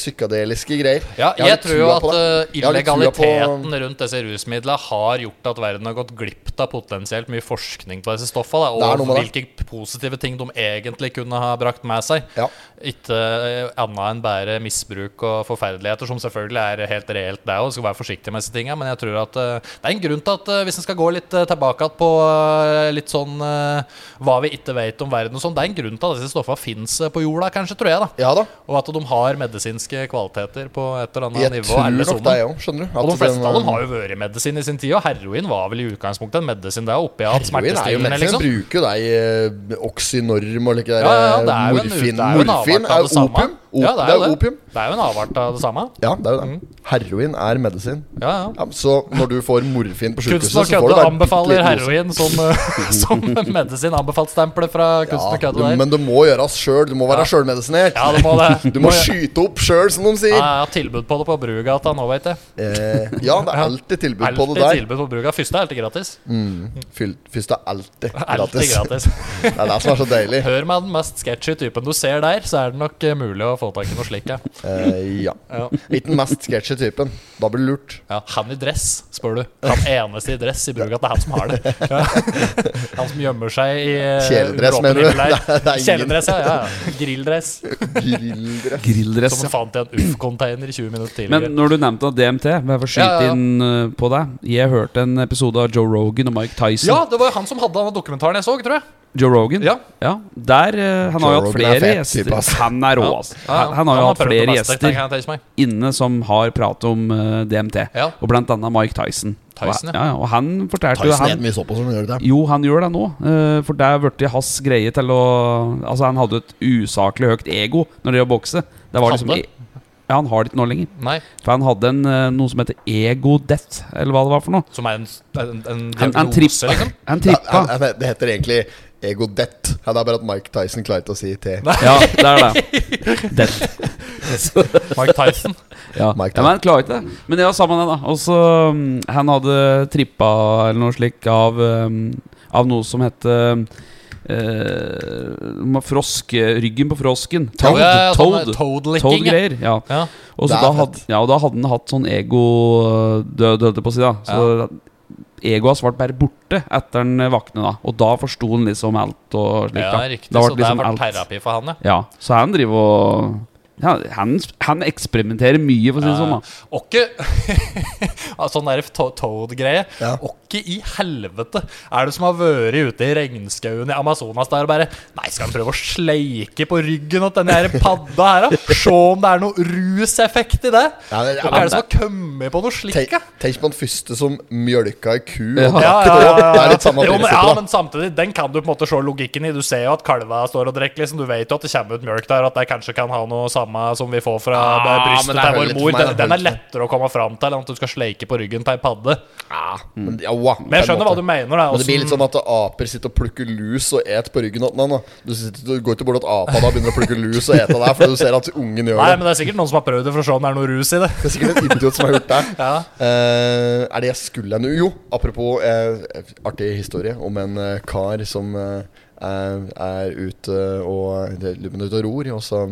psykadeliske greier. Ja, har jeg, litt tror jo trua at på det. eh, Jeg har litt trua på- illegaliteten rundt disse rusmidlene har gjort at verden har gått glipp av potensielt mye forskning på disse stoffene, Det da, er noe og med hvilke positive ting de egentlig kunne ha brakt med seg. Ja. Ikke eh, annet enn bare misbruk og forferdeligheter, som selvfølgelig er helt reelt, det òg. Skal være forsiktig med disse tinga, men jeg tror at eh, det er en grunn til at eh, hvis en skal gå litt eh, tilbake igjen på eh, litt sånn eh, hva vi ikke vet om verden og sånn, det er en grunn til at disse stoffene fins på jorda, kanskje, tror jeg, da. Ja da. Og at de har medisinske kvaliteter på et eller annet Jeg nivå. tror er det nok sånn? det, jeg òg. Skjønner du. Og de At fleste den, av dem har jo vært i medisin i sin tid, og heroin var vel i utgangspunktet en medisin. Det er oppi Heroin er alt jo smertestillende, medisin. liksom. Bruker jo deg eh, Oxynorm og like der, Ja, ja, det er jo en, morfin. det er jo en morfin avart er av jo det samme. opium. Op ja, det er jo opium. Det Mm. er jo en avart av det samme. Ja, det er jo det. Heroin er medisin. Ja, ja. Ja, så når du får morfin på sjukehuset, Kunsten så og får du kødde bare anbefaler bitte liten dose. heroin som, eh, som medisin. Anbefalt-stempelet fra Kunsten Ja, og kødde du- der. men det må gjøres sjøl. Du må være sjølmedisinert. Ja, det må det. Du må skyte opp sjøl, som de Ja, sier. jeg har tilbud på det på Brugata nå, veit jeg. Eh, ja, det er alltid tilbud på det Alltid der. Mm. tilbud på Brugata. Første er alltid gratis. Fyll- Først er alltid gratis. Alltid gratis. Det er det som er så deilig. Hør meg den mest sketchy typen du ser der, så er det nok eh, mulig å få tak i noe slikt. Ja. Eh, ja. Ja. Ikke den mest sketchy typen. Da blir du lurt. Ja, han i dress, spør du. Han eneste i dress i Brugata, det er han som har det. Ja. Han som gjemmer seg i eh, Kjeledress, råpen mener du? himmel her. Det er- det er ingen- Kjeledress, ja. ja, ja. Grilldress. Grilldress. Grilldress. Som han fant i en UF-container 20 minutter Men tidligere. når du nevnte at DMT, bare for å skyte Ja, ja, ja. inn eh, på deg Jeg hørte en episode av Joe Rogan og Mike Tyson. ja, det var jo han som hadde denne dokumentaren jeg så, tror jeg. Joe Rogan? Ja. Der, eh, han har jo Joe Rogan er hatt flere fet gjester. type, ass. Han er rå, Ja. ass. Ja, ja. Han, han har jo hatt prøvd det flere meste, gjester kan jeg tenke meg. inne som har pratet om eh, DMT. Ja. Og blant annet Mike Tyson. Tyson, og, ja, ja, og han fortalte jo Tyson han, spiser mye såpass som han gjør det. Jo, han gjør det nå, eh, for der ble hans greie til å Altså, han hadde et usaklig høyt ego når det gjaldt bokse. Det var liksom Hadde? Ja, han har det ikke nå lenger. Nei, For han hadde en, eh, noe som heter ego death, eller hva det var for noe. som er en, en, en Han, han, diagnose, trippa, liksom. han Det, trippa. er- altså, det- det heter egentlig egodett. Ja, det er bare at Mike Tyson klarer ikke å si T. Ja, det er det. Death. Mark Tyson. Ja. Mike ja, men han klarer ikke det. Men det var sammen med det, da. Og så mm, Han hadde trippa eller noe slikt av, mm, av noe som het um, eh, frosk, ryggen på frosken. Toad. Ja, ja, ja, sånn, toad. Toad-licking. ja. Toad-greier. Ja. Ja. Og Det så er da fett. hadde, ja, og da hadde han hatt sånn ego-død, holdt jeg på å si. da Så egoet hans ble bare borte etter han våkna, da. Og da forsto han liksom alt og slik. ja, da. riktig. Da ble Så det har liksom alt. vært terapi for han, ja. Ja, så han driver og ja, han, han eksperimenterer mye, for å si det sånn. da Åkke Sånn der to- Toad-greie. Åkke i helvete er det som har vært ute i regnskauen i Amazonas der og bare Nei, skal han prøve å sleike på ryggen til denne her padda her, da? Se om det er noe ruseffekt i det? Ja, det- ja, Hva er det som har kommet på noe Tenk, slikt, da? tenk på den første som mjølka ei ku. Ja. Og Ja, drakk ja, det ja, opp. ja. Det er litt samme jo, men, ja, prinsippet, da. men samtidig, den kan du på en måte se logikken i. Du ser jo at kalva står og drikker. Liksom. Du vet jo at det kommer ut mjølk der, og at det kanskje kan ha noe samme som vi får fra det Ah, men brystet det er til litt vår for mor. meg, Den, det er den er litt- lettere å komme fram til enn at du skal sleike på ryggen til ei padde. Men, joa, Men på en jeg skjønner hva måte. du mener. altså. Da, Men det blir Åssen- litt sånn at aper sitter og plukker lus og et på ryggen av den. da. Du, sitter, du går ikke bort til apa da og begynner å plukke lus og ete der, fordi du ser at ungen gjør Nei, det. men det er sikkert noen som har prøvd det for å se om det er noe rus i det. Det er sikkert en idiot som har gjort det. Ja. Eh, er det jeg skulle nå? Jo, apropos eh, artig historie om en eh, kar som eh, er, er ute og det- lurer på om det er ute og ror, og så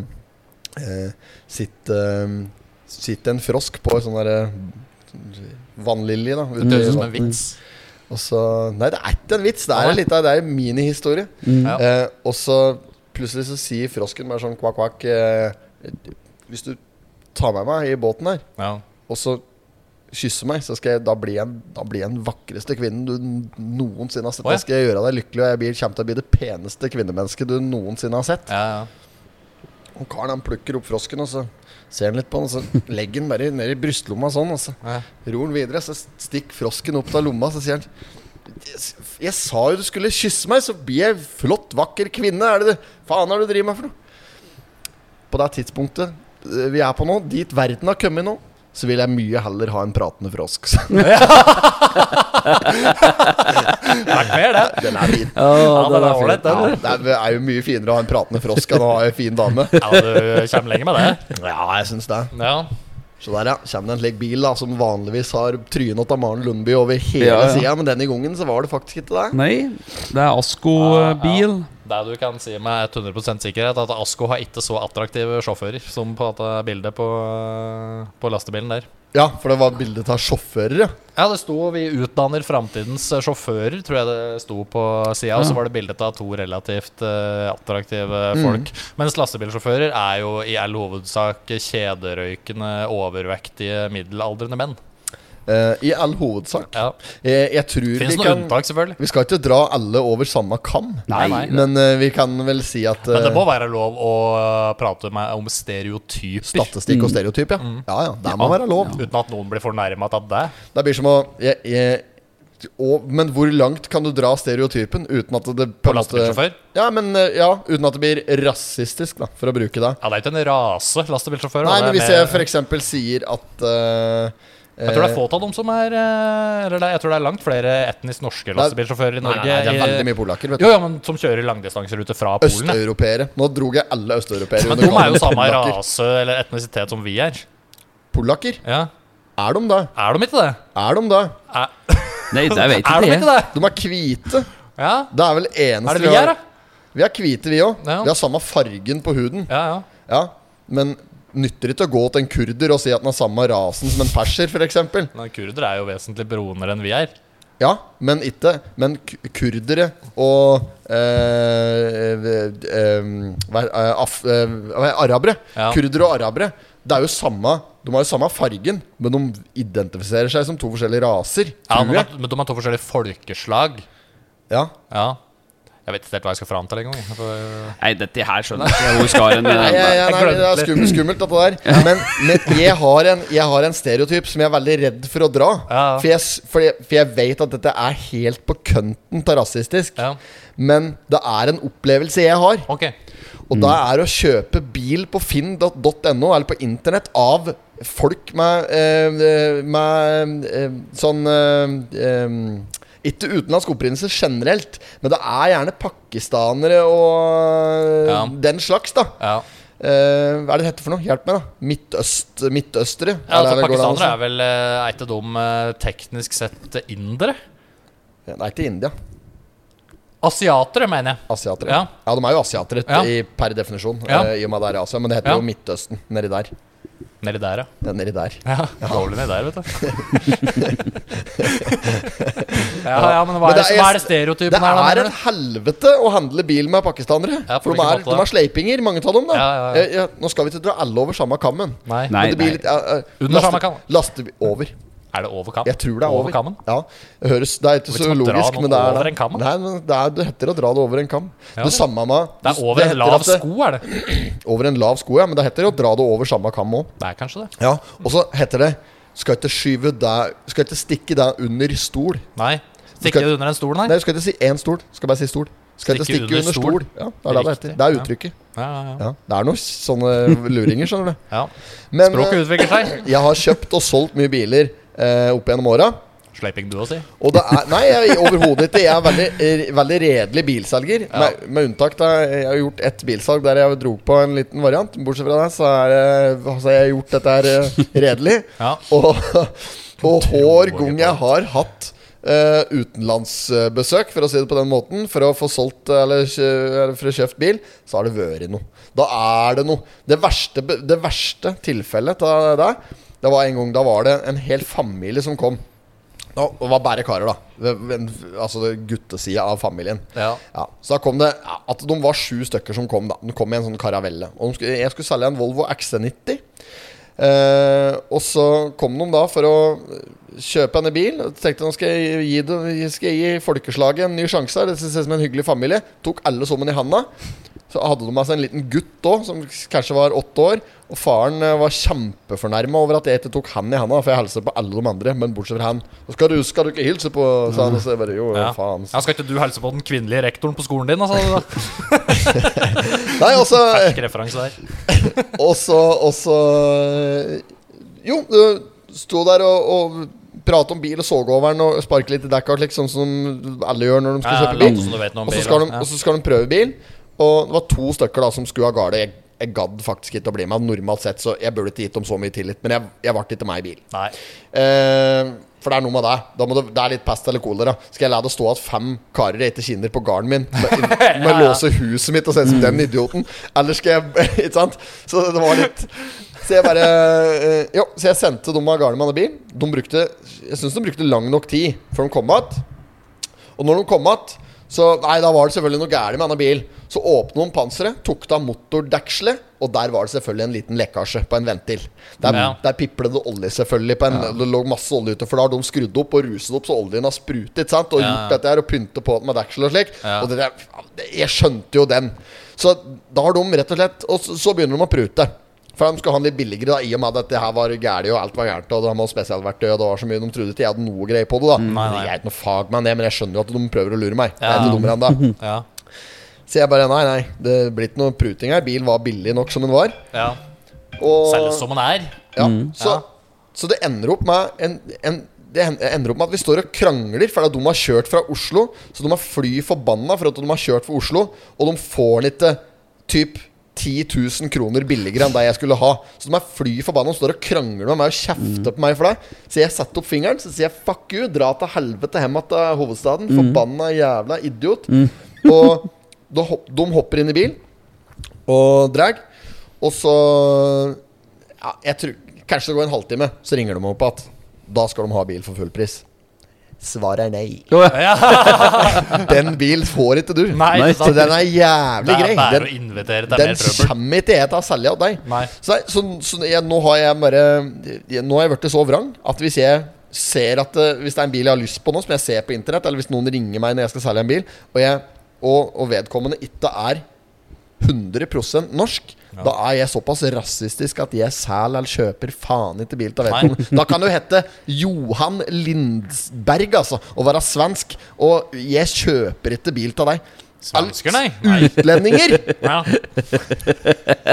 eh, sitter, eh, sitter en frosk på en sånn derre vannlilje, da. ute i Det høres ut som en vannet. vits. Og så Nei, det er ikke en vits! Det er, Nei. litt, av- det er en minihistorie. Ja. Eh, og så plutselig så sier frosken bare sånn kvakk, kvakk eh, Hvis du tar med meg i båten her, Ja. og så kysser meg, så skal jeg, da blir jeg da blir jeg den vakreste kvinnen du n- noensinne har sett. Å, ja. Da skal jeg gjøre deg lykkelig, og jeg blir, kommer til å bli det peneste kvinnemennesket du noensinne har sett. Ja, ja. Og karen han plukker opp frosken, og så ser han litt på den, og så legger han bare ned i brystlomma sånn, og så Ja. ror han videre, så stikker frosken opp av lomma, så sier han jeg, jeg sa jo du skulle kysse meg, så blir jeg flott, vakker kvinne. Er det det faen er det du driver med for noe? På det tidspunktet eh, vi er på nå, dit verden har kommet nå, så vil jeg mye heller ha en pratende frosk. Så Takk mer, det. den er fin. Ja, den er ålreit, Ja, den. det er- det er jo mye finere å ha en pratende frosk enn å ha en fin dame. Ja, du kommer lenger med det. Ja, jeg syns det. Ja. Så der, ja. Kommer det en slik bil da som vanligvis har trynet til Maren Lundby over hele Ja, ja. sida, men denne gangen så var det faktisk ikke det. Nei, det er Ja, ja. Asko-bil. Det du kan si med 100 sikkerhet, at Asko har ikke så attraktive sjåfører som på dette bildet på, på lastebilen der. Ja, for det var bilde av sjåfører, ja. Ja, det sto 'Vi utdanner framtidens sjåfører', tror jeg det sto på sida. Og så var det bilde av to relativt eh, attraktive folk. Mens lastebilsjåfører er jo i all hovedsak kjederøykende, overvektige, middelaldrende menn. Eh, I all hovedsak. Ja. Eh, jeg tror Fins vi noen kan unntak, selvfølgelig. Vi skal ikke dra alle over samme kam, Nei, nei. men eh, vi kan vel si at Men det eh, må være lov å prate med, om stereotyper. Statistikk Mm. og stereotyp, ja. Ja, ja, Det må være lov. Uten at noen blir fornærmet av det. Det blir som å jeg, jeg, og, Men hvor langt kan du dra stereotypen uten at det På lastebilsjåfør? Ja, men eh, ja, uten at det blir rasistisk, da, for å bruke det. Ja, det er ikke en rase lastebilsjåfører. Nei, det men er hvis mer- jeg f.eks. sier at eh, Jeg tror det eh, er få av dem som er eh, Eller det er- jeg tror det er langt flere etnisk norske lastebilsjåfører Nei, i Norge. nei, det er i- veldig mye polakker, vet du. Jo, ja, men som kjører langdistanserute fra Polen. ja. Østeuropeere. Nå drog jeg alle østeuropeere Men under de er jo kampen. samme Polakker. rase eller etnisitet som vi er. Polakker? Ja. Er de det? Er de ikke det? Er de det? Nei, det vet Er ikke de ikke jeg. det? De er hvite. Ja. Det er vel eneste Er det vi er, da? Vi er hvite, vi òg. Ja. Vi har samme fargen på huden. Ja, ja. Ja, Men nytter ikke å gå til en kurder og si at den er samme rasen som en perser, f.eks. Men kurder er jo vesentlig broner enn vi er. Ja, men ikke Men k- kurdere og eh, eh, eh, hva er- eh, af, eh, hva er- Arabere. Ja. Kurdere og arabere. Det er jo samme De har jo samme fargen, men de identifiserer seg som to forskjellige raser. Ja, Tror men de jeg. er- men de er to forskjellige folkeslag. Ja. Ja. Jeg vet ikke helt hva jeg skal fram til engang. jeg. Jeg får- Nei, dette her skjønner jeg ikke hvor skal en Nei, ja, ja, jeg nei, det er glemte skummelt, skummelt dette der. Men, men jeg, har en, jeg har en stereotyp som jeg er veldig redd for å dra. Ja. For, jeg, s- for, jeg, for jeg vet at dette er helt på kønten av rasistisk. Ja. Men det er en opplevelse jeg har. Ok. Og da er å kjøpe bil på finn.no eller på internett av folk med, eh, med eh, sånn eh, eh, ikke utenlandsk opprinnelse generelt, men det er gjerne pakistanere og Ja. den slags, da. Ja. Eh, hva er det det heter for noe? Hjelp meg, da. Midtøst, midtøstere? Ja, altså, Eller, går det an å si? pakistanere er vel eh, er ikke de eh, teknisk sett indere? Ja, Nei, til India. Asiatere, mener jeg. Asiatere. Ja. Ja. de er jo asiatere Ja. i, per definisjon, Ja. eh, i og med at det er i Asia. Men det heter Ja. jo Midtøsten nedi der. Nedi der, ja. Ja, nedi der. Ja, Dårlig nedi der, vet du. ja, ja, men hva Men er det, det er- hva er det stereotypen Det her, da? er mener en du? helvete å handle bil med pakistanere. Ja, på for de hvilken er, måte de da? er sleipinger, mange av dem. da Ja, ja, ja. Eh, ja, Nå skal vi ikke dra alle over samme kammen. Nei. Nei, Men det blir litt, eh, eh, Under laste- samme kam. lastebi- Over. Er det over kam? Jeg tror det er over. kammen? Ja, det høres, Det er ikke Hvis så man drar logisk, noen men det er over det. en kam, da? Nei, men det, er, det heter å dra det over en kam. Ja, det det- samme med Det er over det en heter lav at det- sko, er det? Over en lav sko, ja. Men det heter å dra det over samme kam òg. Det er kanskje det. Ja, og så heter det skal ikke skyve deg Skal ikke stikke deg under stol. Nei. skal- Stikke det under en stol, Nei, nei? du skal ikke si én stol. Skal bare si stol. Skal ikke stikke under stol. Ja, det er det det heter. Riktig, Det er ja. uttrykket. Ja, ja, ja. Ja, det er noen sånne luringer, skjønner du. ja. Men Språket utvikler seg. eh, jeg har kjøpt og solgt mye biler eh, opp gjennom åra. Sleiping du også, si. Og det er Nei, jeg, overhodet ikke. Jeg er veldig, eh, veldig redelig bilselger. Med, med unntak da jeg har gjort ett bilsalg der jeg dro på en liten variant. Bortsett fra det, så er det altså, jeg har gjort dette her eh, redelig. Ja. Og, og hver gang jeg har hatt eh, utenlandsbesøk, for å si det på den måten, for å få solgt eh, eller, kjø- eller for å kjøpt bil, så har det vært noe. Da er det noe. Det verste, be- det verste tilfellet av det der, det var en gang da var det en hel familie som kom. Da- Det var bare karer, da. Det- men- Altså det guttesida av familien. Ja. Ja, så da kom det ja, At de var sju stykker som kom da De kom i en sånn karavelle Og de skulle, jeg skulle selge en Volvo XC90 eh, Og så kom de da for å kjøpe en bil Og tenkte nå skal jeg gi, dem- skal jeg gi folkeslaget en ny sjanse her. Det ser ut som en hyggelig familie Tok alle sammen i handa Så hadde de med seg en liten gutt da Som kanskje var åtte år Og faren eh, var kjempefornærmet over at jeg ikke tok han i handa For jeg hilser på alle de andre Men bortsett fra han «Nå Skal du, skal du ikke hilse på? Sa han og så jeg bare jo Ja. faen Ja, skal ikke du hilse på den kvinnelige rektoren på skolen din? Altså? Nei altså Fersk referanse der. Og så, og så eh, Jo, du sto der og, og pratet om bil og såg over den og sparket litt i dekka, slik sånn som alle gjør når de Ja, skal ja, kjøpe late bil. som du vet noe om Og så bil, skal, de, ja. og så skal de prøve bil. Og det var to stykker da som skulle av gårde. Jeg, jeg gadd faktisk ikke å bli med. Normalt sett så jeg burde ikke gitt dem så mye tillit, men jeg, jeg ble ikke med i bil. Nei. Eh, for det er noe med det. Da må det, det er litt pest eller kolera. Skal jeg la det stå at fem karer eter kinner på gården min med, med låse huset mitt og se ut som den idioten? Eller skal jeg Ikke sant? Så det var litt Så jeg bare eh, Jo, så jeg sendte dem av gårde med en bil. De brukte Jeg syns de brukte lang nok tid før de kom att. Og når de kom att så, nei, da var det selvfølgelig noe gærent med denne bil. Så åpnet de panseret, tok av motordekselet, og der var det selvfølgelig en liten lekkasje på en ventil. Der, Ja. der piplet det olje, selvfølgelig. På en, Det lå masse olje ute, for da har de skrudd opp og ruset opp, så oljen har sprutet. ikke Sant? Og Ja, gjort ja. dette her, og pyntet på det med deksel og slik. Ja. Og det der, jeg skjønte jo den. Så da har de rett og slett Og så, så begynner de å prute. For de skulle ha den litt billigere, da, i og med at dette her var gærent, og alt var gærent. Og de hadde spesialverktøy, og det var så mye. De trodde ikke jeg hadde noe greie på det. da nei. Jeg er ikke noe fagmann, jeg, men jeg skjønner jo at de prøver å lure meg. Jeg Ja. er ikke dummere enn det. Ja. Så jeg bare nei, nei. Det blir ikke noe pruting her. Bilen var billig nok som den var. ja. Og, Selges som en er. ja, så, Ja. så det ender opp med en, en det hen- ender opp med at vi står og krangler fordi de har kjørt fra Oslo. Så de er fly forbanna for at de har kjørt fra Oslo, og de får den ikke typ 10 000 kroner billigere enn det jeg skulle ha. Så de er fly forbanna og står og krangler med meg og kjefter på meg for det. Så jeg setter opp fingeren så sier jeg, 'fuck you', dra til helvete hjem igjen til hovedstaden. Forbanna jævla idiot. Og da hopp, de hopper inn i bil og drag. Og så ja, jeg tror, Kanskje det går en halvtime, så ringer de opp igjen. Da skal de ha bil for full pris. Svaret er nei. Ja. Den bilen får ikke du. Nei, Nei, ikke Så sant? den er jævlig det grei. er bare å Den, invitere til den mer trøbbel. kommer ikke jeg til å selge av deg. Nei. Så, nei, så, så jeg, nå har jeg bare jeg, Nå har jeg blitt så vrang at hvis jeg ser at eh, Hvis det er en bil jeg har lyst på nå, som jeg ser på internett, eller hvis noen ringer meg når jeg skal selge en bil, og, jeg, og, og vedkommende ikke er 100 norsk, da er jeg såpass rasistisk at jeg selger eller kjøper faen ikke bil til vedkommende. Da kan du hete Johan Lindberg, altså, og være svensk, og jeg kjøper ikke bil til deg. Svensker, nei. nei. Utlendinger! Ja.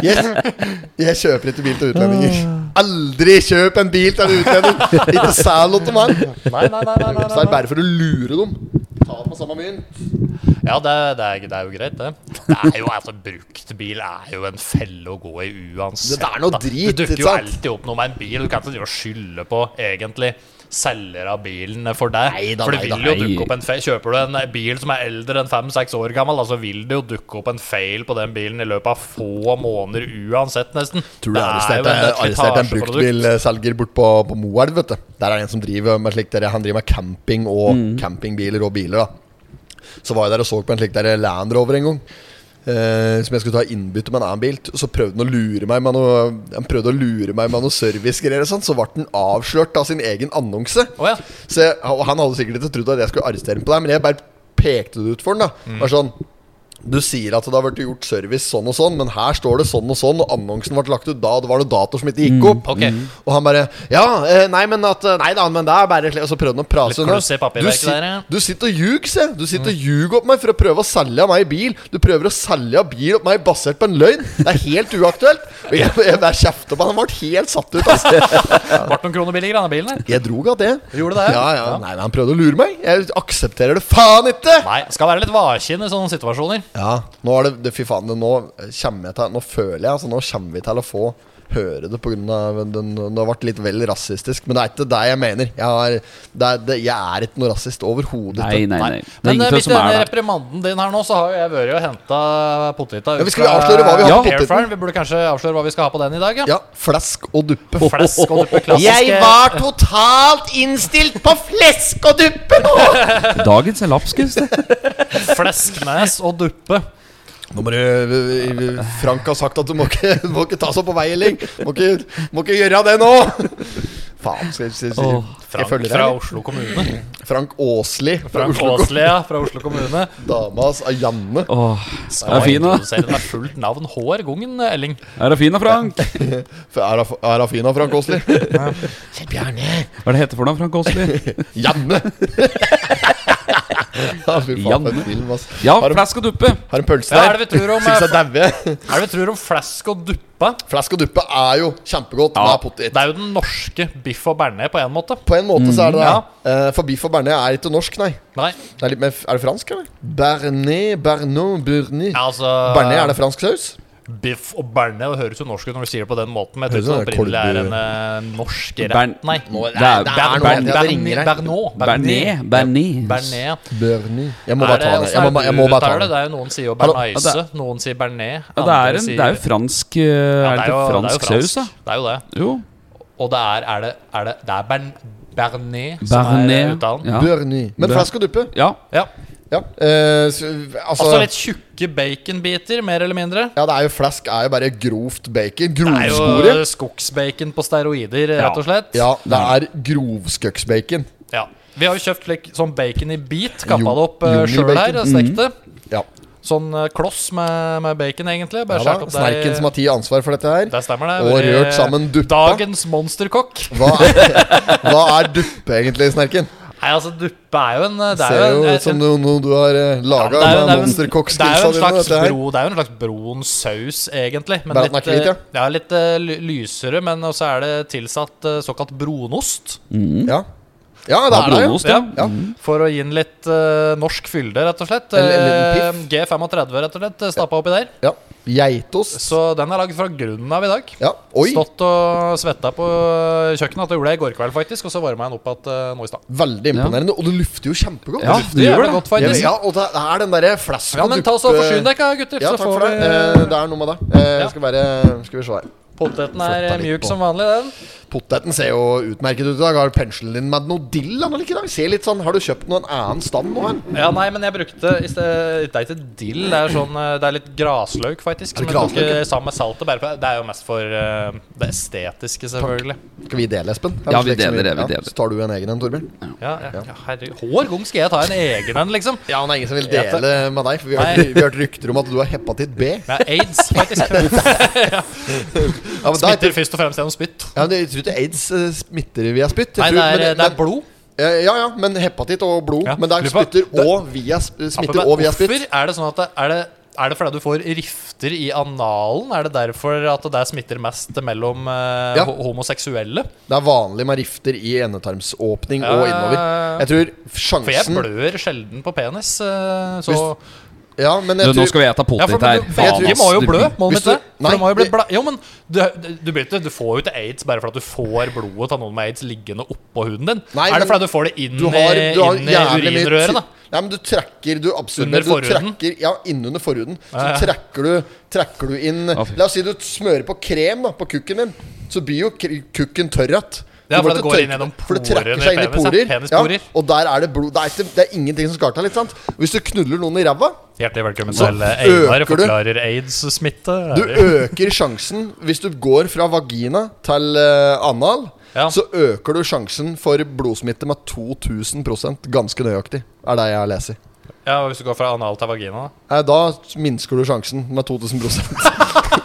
Jeg, jeg kjøper ikke bil til utlendinger. Aldri kjøp en bil til en utlending! Ikke sal noe til meg. Nei, nei, nei, nei, Så nei, det er nei. bare for å lure dem. Ta det på samme mynt. Ja, det, det, er, det er jo greit, det. Det er jo altså Bruktbil er jo en felle å gå i uansett. Det er noe da. drit, Det ikke dukker jo sant? alltid opp noe med en bil. Du kan ikke drive og skylde på egentlig selger av bilen for deg. Neida, for det neida, vil jo nei. dukke opp en feil. Kjøper du en bil som er eldre enn fem-seks år gammel, da, så vil det jo dukke opp en feil på den bilen i løpet av få måneder uansett, nesten. Tror du jeg arresterte, arresterte en bruktbilselger bort på, på Moelv, vet du. Der er det en som driver med slikt der, Han driver med camping og Mm. campingbiler og biler, da. Så var jeg der og så på en slik der Land Rover en gang. eh, som jeg skulle ta innbytte med en annen bil. Så prøvde han å lure meg med noe Han prøvde å lure meg med noe servicegreier og sånn. Så ble han avslørt av sin egen annonse. Å, ja. Så jeg, og han hadde sikkert ikke trodd at jeg skulle arrestere ham på det, men jeg bare pekte det ut for han da. Mm. Bare sånn du sier at det har vært gjort service sånn og sånn, men her står det sånn og sånn, og annonsen ble lagt ut da, og det var noen datoer som ikke gikk opp. Ok. Og han bare Ja, eh, nei, men at eh, Nei da, men det er bare slik», Og så prøvde han å prate Litt seg unna. kluss i papirverket Du si- der, ja. Mm. Du sitter og ljuger, se. Du sitter og ljuger opp meg for å prøve å selge av meg bil. Du prøver å selge av bil opp meg basert på en løgn. Det er helt uaktuelt. Og jeg, jeg bare kjefter på han. Han ble helt satt ut, altså. Ble noen kroner billigere, denne bilen her. Jeg drog av det. Gjorde det? Ja, ja. Ja. Nei, men han prøvde å lure meg. Jeg aksepterer det faen ikke! Nei, skal være litt vakin i sånne situasjoner. Ja, nå er det, det Fy faen, det, nå kommer jeg til Nå føler jeg altså, Nå kommer vi til å få høre det pga. den Det har vært litt vel rasistisk. Men det er ikke det jeg mener. Jeg, har, det er, det, jeg er ikke noe rasist overhodet. Nei, nei, nei. Det er Men eh, ingen hvis som denne er der. reprimanden din her nå, så har jo jeg vært og henta poteta Ja, men skal vi avsløre hva vi har ja. på poteten? airfryeren? Vi burde kanskje avsløre hva vi skal ha på den i dag, ja. Ja, flask og duppe. Flesk og duppe klassiske totalt innstilt på flesk og duppe nå! Dagens er lapskaus. det. Flesknes og duppe. Nå må du Frank har sagt at du må ikke, må ikke ta så på vei, Elling. Må ikke, må ikke gjøre det nå! Faen, skal jeg, skal jeg, skal jeg, Åh, Frank følger fra deg. Oslo kommune. Frank Åsli fra Frank Oslo. Åsli, ja. Fra Oslo kommune. Dama hans er Janne. Åh, Skal er fin, da. introdusere den med fullt navn hver gangen, Elling. er det fin da, Frank? For Er hun- er hun fin av Frank Åsli? Bjarne. Hva er det heter for noe, Frank Åsli? Janne! ja, fy faen, for en Janne. film, ass. Ja, Har du- flask og duppe. Har en pølse Ja, der. er det vi tror om, Synes eh, jeg daue. Er det vi tror om flesk og duppe? Flask og duppe er jo kjempegodt med potet. Det er jo den norske biff og bearnés på en måte. På en måte så er Mm, det det. ja. Eh, for biff og bearnés er ikke norsk, nei. Nei, Det er, litt mer, er det fransk, eller? Bernet, Bernon, Burni. ja, altså Bearnés, er det fransk saus? Biff og bearnés høres jo norsk ut når du sier det på den måten. Men jeg Høres tror ut ikke det som opprinnelig er en en eh, norsk Bern- rett. Nei. Nå, Det er- noe Bern- annet. Det ringer her. Bernet. Bernet. Bernet. Bernet. Berni. Jeg må Er bare det, ta det. Jeg må, hvordan ba- er jeg det må du bare ta uttaler det. det? Det er jo Noen sier jo Hallo. bernaise, Ja, noen sier bearnés. Ja, det er, en, det er jo fransk eh, Er det ikke fransk saus, da? Det er jo det. Jo. Og det er, er det, er det, det er bern, Bernet som er Bernet. uttalen. Ja. Børni. Men Bør- flask og duppe? ja. Ja. Ja. Eh, så, altså, Altså litt tjukke baconbiter, mer eller mindre. ja, det er jo flask er jo bare grovt bacon. Det er Grovskore. jo skogsbacon på steroider, rett og slett. Ja, det er grovskøksbacon. Ja. Vi har jo kjøpt slik, sånn bacon i bit, kappa Jo- Mm. det opp uh, sjøl Joni-bacon. her, og stekt det. Ja. Sånn eh, kloss med, med bacon, egentlig. Ja, Bare skjært da, opp Snerken som har tatt ansvar for dette her. Det stemmer, det. Og Vi- rørt sammen duppa. Dagens monsterkokk. Hva er, hva er duppe, egentlig, Snerken? Nei, altså, duppe er jo en eh, Det er Ser jo jo en, ut som en- noe, noe du har eh, ja, laga det er jo- det er med jo en- det er jo monsterkokkskillsa en dine. slags dette her. bro- Det er jo en slags brun saus, egentlig. Men Bare at den er litt, ikke hvit, eh, ja, litt eh, ly- lysere, men også er det tilsatt eh, såkalt brunost. Ja. ja, det er det jo. Brunost, ja. Ja. For å gi den litt eh, norsk fylde, rett og slett. En liten Eh, G35, rett og slett, eh, stappa oppi der. ja. Geitost. Så den er lagd fra grunnen av i dag. Ja. Oi, Stått og svetta på eh, kjøkkenet. At jeg gjorde det i går kveld, faktisk. Og så varma jeg den opp at, eh, nå i stad. veldig imponerende. Og det lufter jo kjempegodt. Ja, Det det er gjør jævlig det. godt, faktisk. Ja, og det er den derre flaska Ja, men ta så forsyn deg, da, gutter. Ja, så takk får for det. vi Eh, Det er noe med det. Eh, Ja. Skal være Skal vi se her. Poteten Flytta er eh, litt mjuk på. som vanlig, den. Poteten ser jo utmerket ut i dag. Har du penselen din med noe dill? da, eller ikke da? Vi ser litt sånn Har du kjøpt noen annen stand nå? Her? Ja, nei, men jeg brukte i sted, Det er ikke dill, det er sånn eh, Det er litt grasløk, faktisk. Er det Som jeg tok grasløk, ja? eh, sammen med saltet. Bare på. Det er jo mest for eh, det estetiske, selvfølgelig. Skal vi dele, Espen? Ja, vi Slik som deler det, vi ja, deler. Så tar du en egen en, Torbjørn. Ja, ja, ja herregud. Hver gang skal jeg ta en egen en, liksom? Ja, men det er ingen som vil Ja, for- dele med deg, for vi har, vi Nei. har hørt rykter om at du har hepatitt B. Ja, Ja, aids, faktisk. men da, Smitter først og fremst gjennom spytt. ja, men Jeg tror ikke aids eh, smitter via spytt. Jeg Nei, tror, det er, men- det er men- blod. Ja, ja, ja, men hepatitt og blod. Ja. Men det er Lurer på- spytter det- og via, sp- smitter Ja, men og via spytt. hvorfor Er det sånn at det, er det er det fordi du får rifter i analen? Er det derfor at det der smitter mest mellom eh, Ja. ho- homoseksuelle? Det er vanlig med rifter i endetarmsåpning Ja, og ja, innover. ja, ja. Jeg tror For jeg sjansen blør sjelden på penis. eh, så Hvis- Ja, men Du, jeg nå tror skal vi ete ja, for, potet men her. faen, du, begge ass, må jo du- blø, må de hvis du- ikke det? For nei, de må jo bli det- bla... Jo, men du, du, blir ikke- du får jo ikke aids bare fordi du får blodet av noen med aids liggende oppå huden din. Nei, er men det fordi du får det inn, du har, i- du har inn i jævlig mye urinrøret, ty- da? Nei, men du trekker Du absorberer Under du forhuden? trekker, Ja, innunder forhuden. Så Ja, ja. trekker du Trekker du inn fy. La oss si du smører på krem da på kukken din. Så blir jo k- kukken tørr igjen. Ja, Du må for det ikke går inn tørke- gjennom For det trekker porene i seg inn i penis, ja. porer. Penisporer. og der er det blod det er, ikke, det er ingenting som skal til. Ikke sant? Hvis du knuller noen i ræva, Hjertelig velkommen Så til eh, Einar øker du- forklarer aids-smitte. du øker sjansen Hvis du går fra vagina til eh, anal, Ja. så øker du sjansen for blodsmitte med 2000 ganske nøyaktig. Er det jeg leser. Ja, og Hvis du går fra anal til vagina, da. Nei, da minsker du sjansen med 2000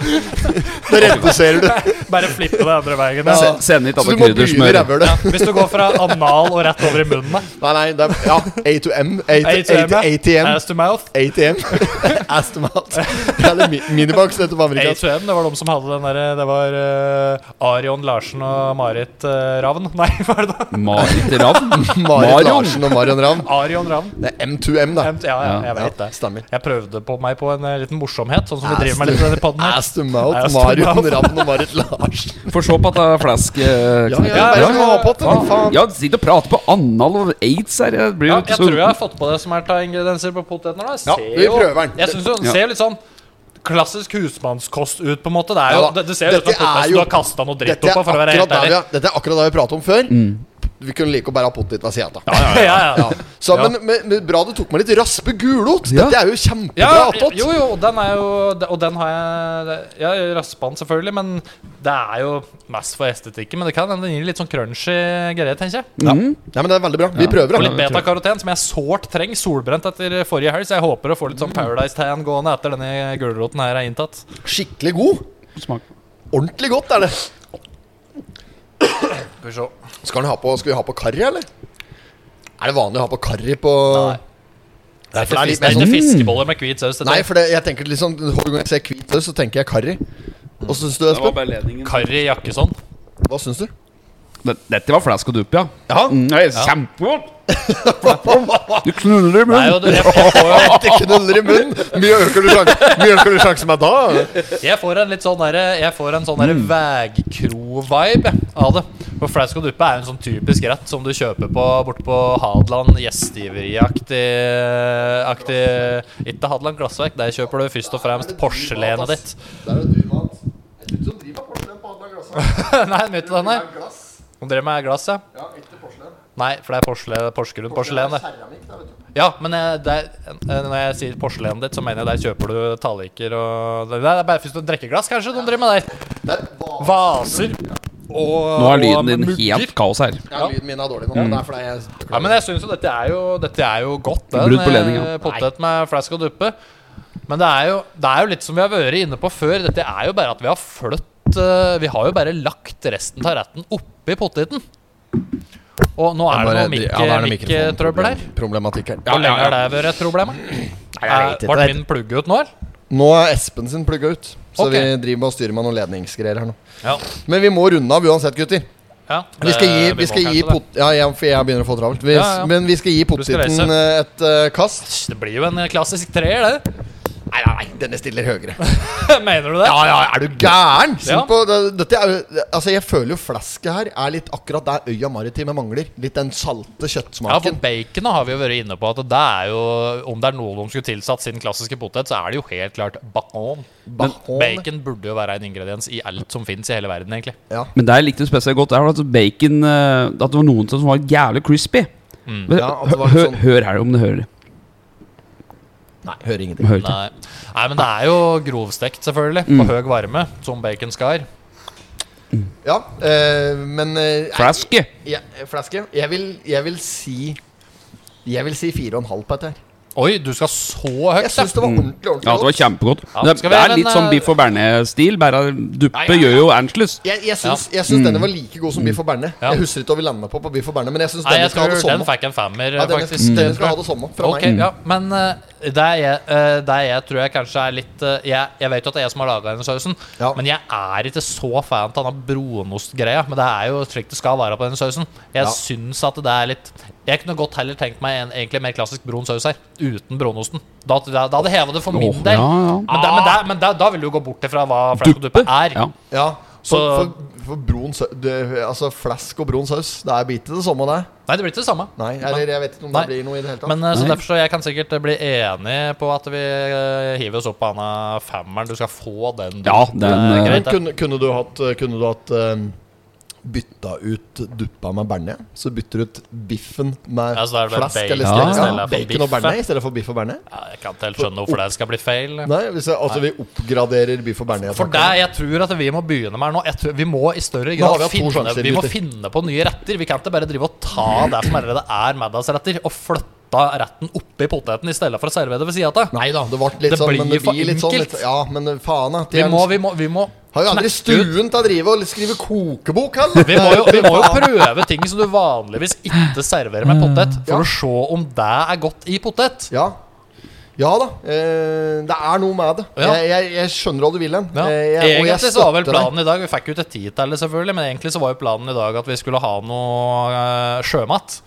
Det reduserer du. Bare flippe det andre veien. Ja. Ja. Se- Send hit Så alle du må begynne i kryddersmør. rævhølet. Hvis du går fra anal og rett over i munnen, da. Nei, nei, det er, ja, A to M. A to, A ATM, to, ATM. Ass to mouth. ATM. Astomat. Eller mi- minibox, dette på amerikansk. A2M, det var de som hadde den derre Det var eh, Arion Larsen og Marit eh, Ravn. Nei, hva er det da? Marit Ravn. Marit Marion. Larsen og Marion Ravn. Arion Ravn. Det er M2M, da. nevnt. Ja, ja, jeg vet det. Stemmer. Jeg prøvde på meg på en eh, liten morsomhet, sånn som vi driver med litt i denne podden her. Ass to mouth, Ass to Marion mouth. Ravn og Marit Larsen. Få se på at det er flask. eh, Ja, knipp. ja, ja, ja, ja, Ah, ja, sitt og prate på anal og aids her. Jeg blir jo Ja, ikke jeg så- tror jeg har fått på det som er av ingredienser på potetene. da. Jeg Ja, ser vi jo- prøver den. Jeg synes jo, den Ja. ser jo litt sånn klassisk husmannskost ut, på en måte. Det, er jo, Ja da. det, det ser jo ut som Dette er potet jo- du har kasta noe dritt Dette er oppå, for å være akkurat helt der vi ærlig. har- dette er akkurat det vi pratet om før. Mm. Vi kunne like å bære potet ved sida av. Ja, ja, ja. Så, Ja. men, men, men bra du tok med litt raspe gulot. Ja. Dette er jo Ja, kjempebra attåt. jo, jo, og den er jo Og den har jeg Ja, jeg raspa den selvfølgelig, men det er jo mest for estetikken. Men det kan hende den gir litt sånn crunchy greie, tenker jeg. Mhm. Nei, men det er veldig bra. Vi prøver, Og da. litt betakaroten, som jeg sårt trenger. Solbrent etter forrige helg, så jeg håper å få litt sånn Paradise Tan gående etter denne gulroten her er inntatt. Skikkelig god. Smak. Ordentlig godt er det. Skal vi se. Skal, den ha på, skal vi ha på karri, eller? Er det vanlig å ha på karri på Nei. Det er for det ikke, er litt fisk, det er sånn- mer ikke fiskeboller med hvit saus. Nei, for det, jeg tenker liksom Hver gang jeg ser hvit saus, så tenker jeg karri. Hva syns du, Espen? bare ledningen. Karri sånn. Jakkesson. Hva syns du? Dette var flask og dupp, ja. Ja. Mm, det er Kjempegodt! du knuller i Nei, munnen. og du, jeg, jeg, får jo, Det knuller i munnen. Mye øker du sjansen Mye øker du sjansen med da. jeg får en litt sånn derre Jeg får en sånn derre Mm. vegkro-vibe av det. For flask og duppe er jo en sånn typisk rett som du kjøper på borte på Hadeland gjestgiveriaktig aktig Ikke Hadeland glassverk, der kjøper du først og fremst porselenet ditt. Det er jo dyr mat. Jeg tror ikke de driver med porselen på alle glassene. Nei, mye av denne. Glass. Hun drev med glass, ja. Ja, ikke porselen. Nei, for det er porselen, Porsgrunn porselen, det. Keramikk, da, vet du. Ja, men eh, det er, eh, når jeg sier porselenet ditt, så mener jeg der kjøper du talliker og Det det er bare først og drikkeglass, kanskje, de driver med der. Det er bare Vaser og Nå er lyden og din mugger. helt kaos her. ja, Lyden min er dårlig nå. men Det er fordi jeg Mm. Ja, men jeg syns jo dette er jo, dette er jo godt, det. Brudd på ledningen. Potet med flask og duppe. Men det er, jo, det er jo litt som vi har vært inne på før. Dette er jo bare at vi har flytt eh, Vi har jo bare lagt resten av retten oppi poteten. Og nå er det noe mikke- mikketrøbbel her. Problematikk her. Hvor lenge har det vært et problem? jeg vet ikke. Ble min plugg ut nå, eller? Nå er Espen sin plugga ut, så Ok. vi driver og styrer med noen ledningsgreier her nå. Ja. Men vi må runde av uansett, gutter. ja Vi skal gi, det- vi må skal kanskje gi det. pot... Ja, jeg, for jeg begynner å få travelt. Vi, Ja, ja. Men vi skal gi skal poteten eh, et eh, kast. Det blir jo en klassisk treer, det. Nei, nei, nei, denne stiller høyere. Mener du det? Ja, ja, er du gæren? Se Ja. på det- Dette er jo Altså, jeg føler jo flasket her er litt akkurat der øya maritime mangler. Litt den salte Ja, for kjøttsmaken. bacon har vi jo vært inne på at det er jo Om det er noe de skulle tilsatt sin klassiske potet, så er det jo helt klart bacon. Bacon. Bacon burde jo være en ingrediens i alt som fins i hele verden, egentlig. Ja. Men der likte du spesielt godt Det var at bacon eh, At det var noen som var jævlig crispy. Men, Ja, at det var litt hø- sånn- hør her, om du hører. Nei, hører ingenting. Hør til. Nei. Nei, men det er jo grovstekt, selvfølgelig. På Mm. høy varme, som bacon skal. Ja, eh, men eh, Flaske. Ja, flaske. Jeg vil, jeg vil si Jeg vil si fire og en halv på dette her. Oi, du skal så Jeg høyt, syns det var ordentlig ordentlig Ja, det var godt. kjempegodt. Ja, det, skal vi det ha er en, litt sånn eh, biff og berne-stil. Bare duppe Ja, ja, ja. gjør jo Angelus. Jeg, jeg syns, jeg syns denne var like god som biff og berne. Mm. Ja. Jeg husker ikke hva vi landa på på biff og berne, men jeg syns Nei, denne jeg skal tror ha det den samme. fikk en femmer, Ja, denne, faktisk. denne skal ha det samme fra Ok, meg. ja, men eh, det jeg, eh, det jeg tror jeg kanskje er litt eh, jeg, jeg vet jo at det er jeg som har laga denne sausen, Ja. men jeg er ikke så fan av denne brunostgreia. Men det er jo slik det skal være på denne sausen. Jeg Ja. syns at det er litt Jeg kunne godt heller tenkt meg en egentlig mer klassisk brun saus her, uten brunosten. Da, da, da hadde heva det for min Åh, ja, del. ja. Men, da, men, da, men da, da vil du jo gå bort ifra hva flesk og duppe er. Ja. Ja. Så Så- for, for brun saus det- Altså flask og brun saus, det er bit i det samme, det. Nei, det blir ikke det samme. Nei, eller jeg vet ikke om det Nei. blir noe i det hele tatt. Men eh, så Nei. derfor så jeg kan sikkert eh, bli enig på at vi eh, hiver oss opp på denne femmeren. Du skal få den. du. Ja, den, Det er eh, greit, Men det. kunne, kunne du hatt, kunne du hatt eh, bytta ut duppa med berne? Så bytter du ut biffen med Ja, så da er det flask bacon eller i stek? stedet Ja, for bacon og biff, berne ja. i stedet for biff og berne? Ja, jeg kan ikke helt skjønne hvorfor det skal bli feil. Nei, hvis jeg, altså vi oppgraderer biff og berne. jeg For snakker det om. jeg tror at vi må begynne med her nå jeg tror, Vi må i større Nå har grad vi hatt to finne, sjanser, vi må gutter. finne på nye retter. Vi kan ikke bare drive og ta det som allerede er middagsretter, og flytte retten oppi poteten i stedet for å servere det ved sida av. Nei da, det ble litt Det sånn, blir men det for blir litt sånn enkelt. litt, Ja, men faen, da. Vi må, vi må, vi må har jo aldri knekke ut- stuen til å drive og skrive kokebok, heller. vi må, jo, vi må jo prøve ting som du vanligvis ikke serverer med potet, for Ja. å se om det er godt i potet. Ja. ja da. Eh, det er noe med det. Ja. Jeg, jeg, jeg skjønner hva du vil hen. Ja. Eh, jeg- og jeg Egentlig så var vel støtter deg. planen i dag Vi fikk jo ikke tid til det, selvfølgelig, men egentlig så var jo planen i dag at vi skulle ha noe eh, sjømat.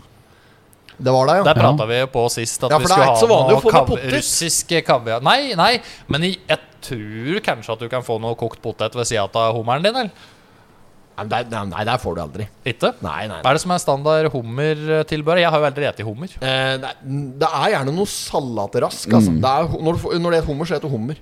Det var det, ja. Der prata vi på sist at Ja, vi for det er skulle ikke så ha vanlig å noe få med kav potet. russiske kaviar Nei, nei, men jeg, jeg tror kanskje at du kan få noe kokt potet ved sida av hummeren din, eller? Nei, men der- nei, der får du aldri. Ikke? Nei, nei. Hva er det som er standard hummertilbehør? Jeg har jo aldri spist hummer. Eh, det, er, det er gjerne noe salatrask. Altså. Mm. Det er, hu- når, du, får- når det er hummer, så heter det hummer.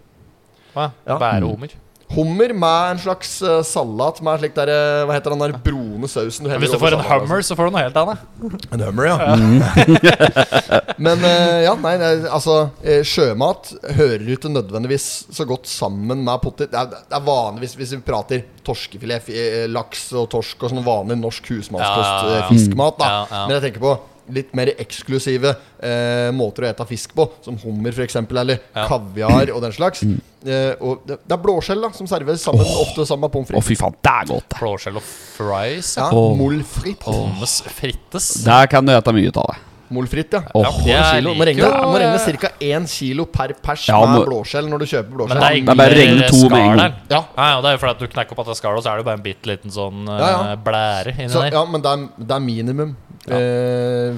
Hva? Ja. Mm. Bærehummer. Hummer med en slags eh, salat med en slik der eh, Hva heter den der brune sausen du heller Hvis du over får en salatrasen? hummer, så får du noe helt annet. altså. En hummer, ja. Men eh, ja, nei, nei altså eh, Sjømat hører jo ikke nødvendigvis så godt sammen med potet. Det er, det er vanligvis, hvis vi prater torskefilet, fi- eh, laks og torsk og sånn vanlig norsk husmannskost, Ja, ja, ja. eh, fiskmat, da. Ja, ja. Men jeg tenker på litt mer eksklusive eh, måter å ete fisk på, som hummer f.eks., eller Ja. Mm. kaviar og den slags. Eh, og det, det er blåskjell da som serveres sammen, ofte sammen med pommes Å, frites. fy faen, det er godt, det. Blåskjell og fries. Ja, Åh. Molle frites. Pommes frites. Der kan du ete mye ut av det. Molle frites, ja. Åh. På en Ja, kilo. Må jeg regne, liker jo må regne eh, ca. 1 kilo per pers Ja, med må- blåskjell når du kjøper Men blåskjell. det er, Det er bare å ikke regne to med en skall gang. der. Ja. Ja, ja, det er jo fordi at du knekker opp at det er skall, og så er det jo bare en bitte liten sånn eh, Ja, ja. blære inni Så, der. ja, men det er, det er minimum. Eh, det Men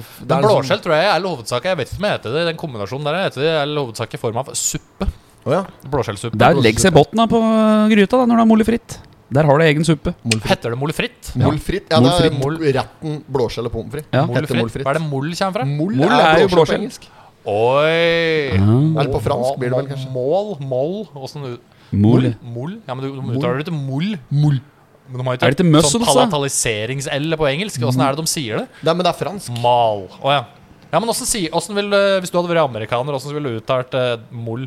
er liksom- blåskjell tror jeg er hovedsak Jeg vet ikke om jeg heter det. Den kombinasjonen der jeg heter det er hovedsak i form av suppe. Å ja. Blåskjellsuppe. Der legger seg bunnen på øh, gryta da når det er molle fritt. Der har du egen suppe. Heter det molfritt? Molle frites. Ja, Molle det er frites. mol- retten blåskjell og pommes frites. Ja. Heter Molfritt? molle frites. Hva er det mol kommer fra? Moll Moll er jo blåskjell. Oi! Eller på fransk blir det vel kanskje. Mål? Moll? Åssen du Mol. Mol? Ja, men du, du uttaler det til mol. Moll. Men de har Er det ikke muscles, sånn da? palataliserings-L på engelsk. Åssen er det de sier det? Nei, men det er fransk. Mal. Å ja. Ja, men hvordan sier, hvordan vil, eh, Hvis du hadde vært amerikaner, hvordan ville du uttalt eh, mol?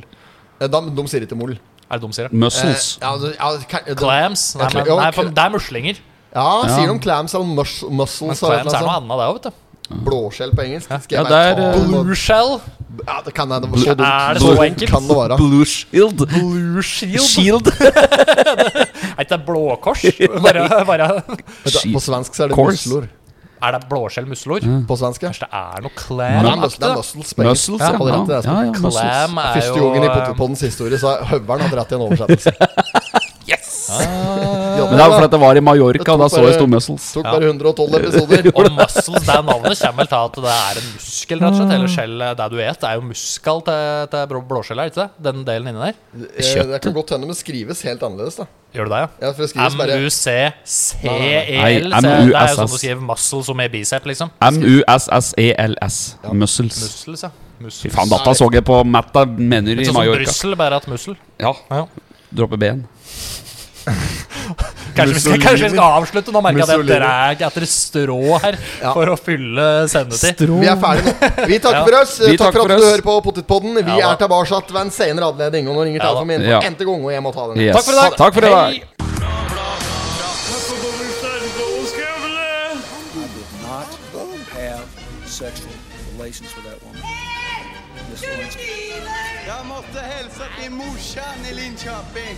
Eh, Da, de sier ikke moll. Er det de sier? det? Eh, Muscles. ja, det- ja, det kan- det- Clams? Nei, Ja, men, cl- ja, nei, cl- for det er muslinger. Ja, sier Ja. de clams eller mus Men muscles? eller clams er noe noe sånt? annet, det òg, vet du. Blåskjell på engelsk? Skal jeg Ja, bare det er, ta eh, noe- Blue shell. Ja, det kan jeg. Det var så dumt. Er det så dumt enkelt? Kan det være. Blue shield. Blue shield. Shield. Er ikke det blåkors? Bare, bare. Vet du, På Shit. svensk så er det Course. muslor. Er det blåskjell muslor? På svensk, ja. Kanskje det er noe Mm. Ja, det er, clam? mus- det er muscles på engelsk. Muscles, Ja, ja. hadde rett i det, ja, Espen. ja, muscles. Clam er jo Første gangen i eh, Potipodens historie så har Høveren hatt rett i en oversettelse. Ah. yes! Men det er jo fordi det var i Mallorca, og da så bare- det sto muscles. tok bare 112 episoder. eh, Og muscles, det er navnet kommer vel til at det er en muskel, rett og slett. Mm. Eller skjell, det du et. Det er jo muskel til, til blå- blåskjell, er det ikke det? Den delen inni der. Eh, Det kan godt hende, men skrives helt annerledes, da. Gjør du det, ja? Ja, for det skrives bare M-U-C-C-E-L. Nei, E Det er jo sånn M-U-S-S. du skriver muscle som er bicep, liksom. M-U-S-S-E-L-S. E Muscles. Muscles, ja. Fy Muscles. faen, dette så jeg på Matta Menyer Litt i sånn som Mallorca. Brussel, bare at mussel. Ja, Ja. droppe B-en. Kanskje, vi skal, Mussolini. kanskje vi skal avslutte? Nå merker jeg at jeg Mussolini. drar etter strå her Ja. for å fylle sendetid. Vi er ferdige nå. Vi takker for oss. Takk, Vi for takker for at du oss. hører på Potipodden. Vi Ja, da. er tilbake ved en senere anledning. Og nå ringer Ja, da. telefonen min Ja. for n-te gang, og jeg må ta den. Yes. Takk for i dag. Takk for i dag. Hei. Not have sexual relations with that woman. Miss Lewinsky. Jag måste hälsa till morsan i Linköping.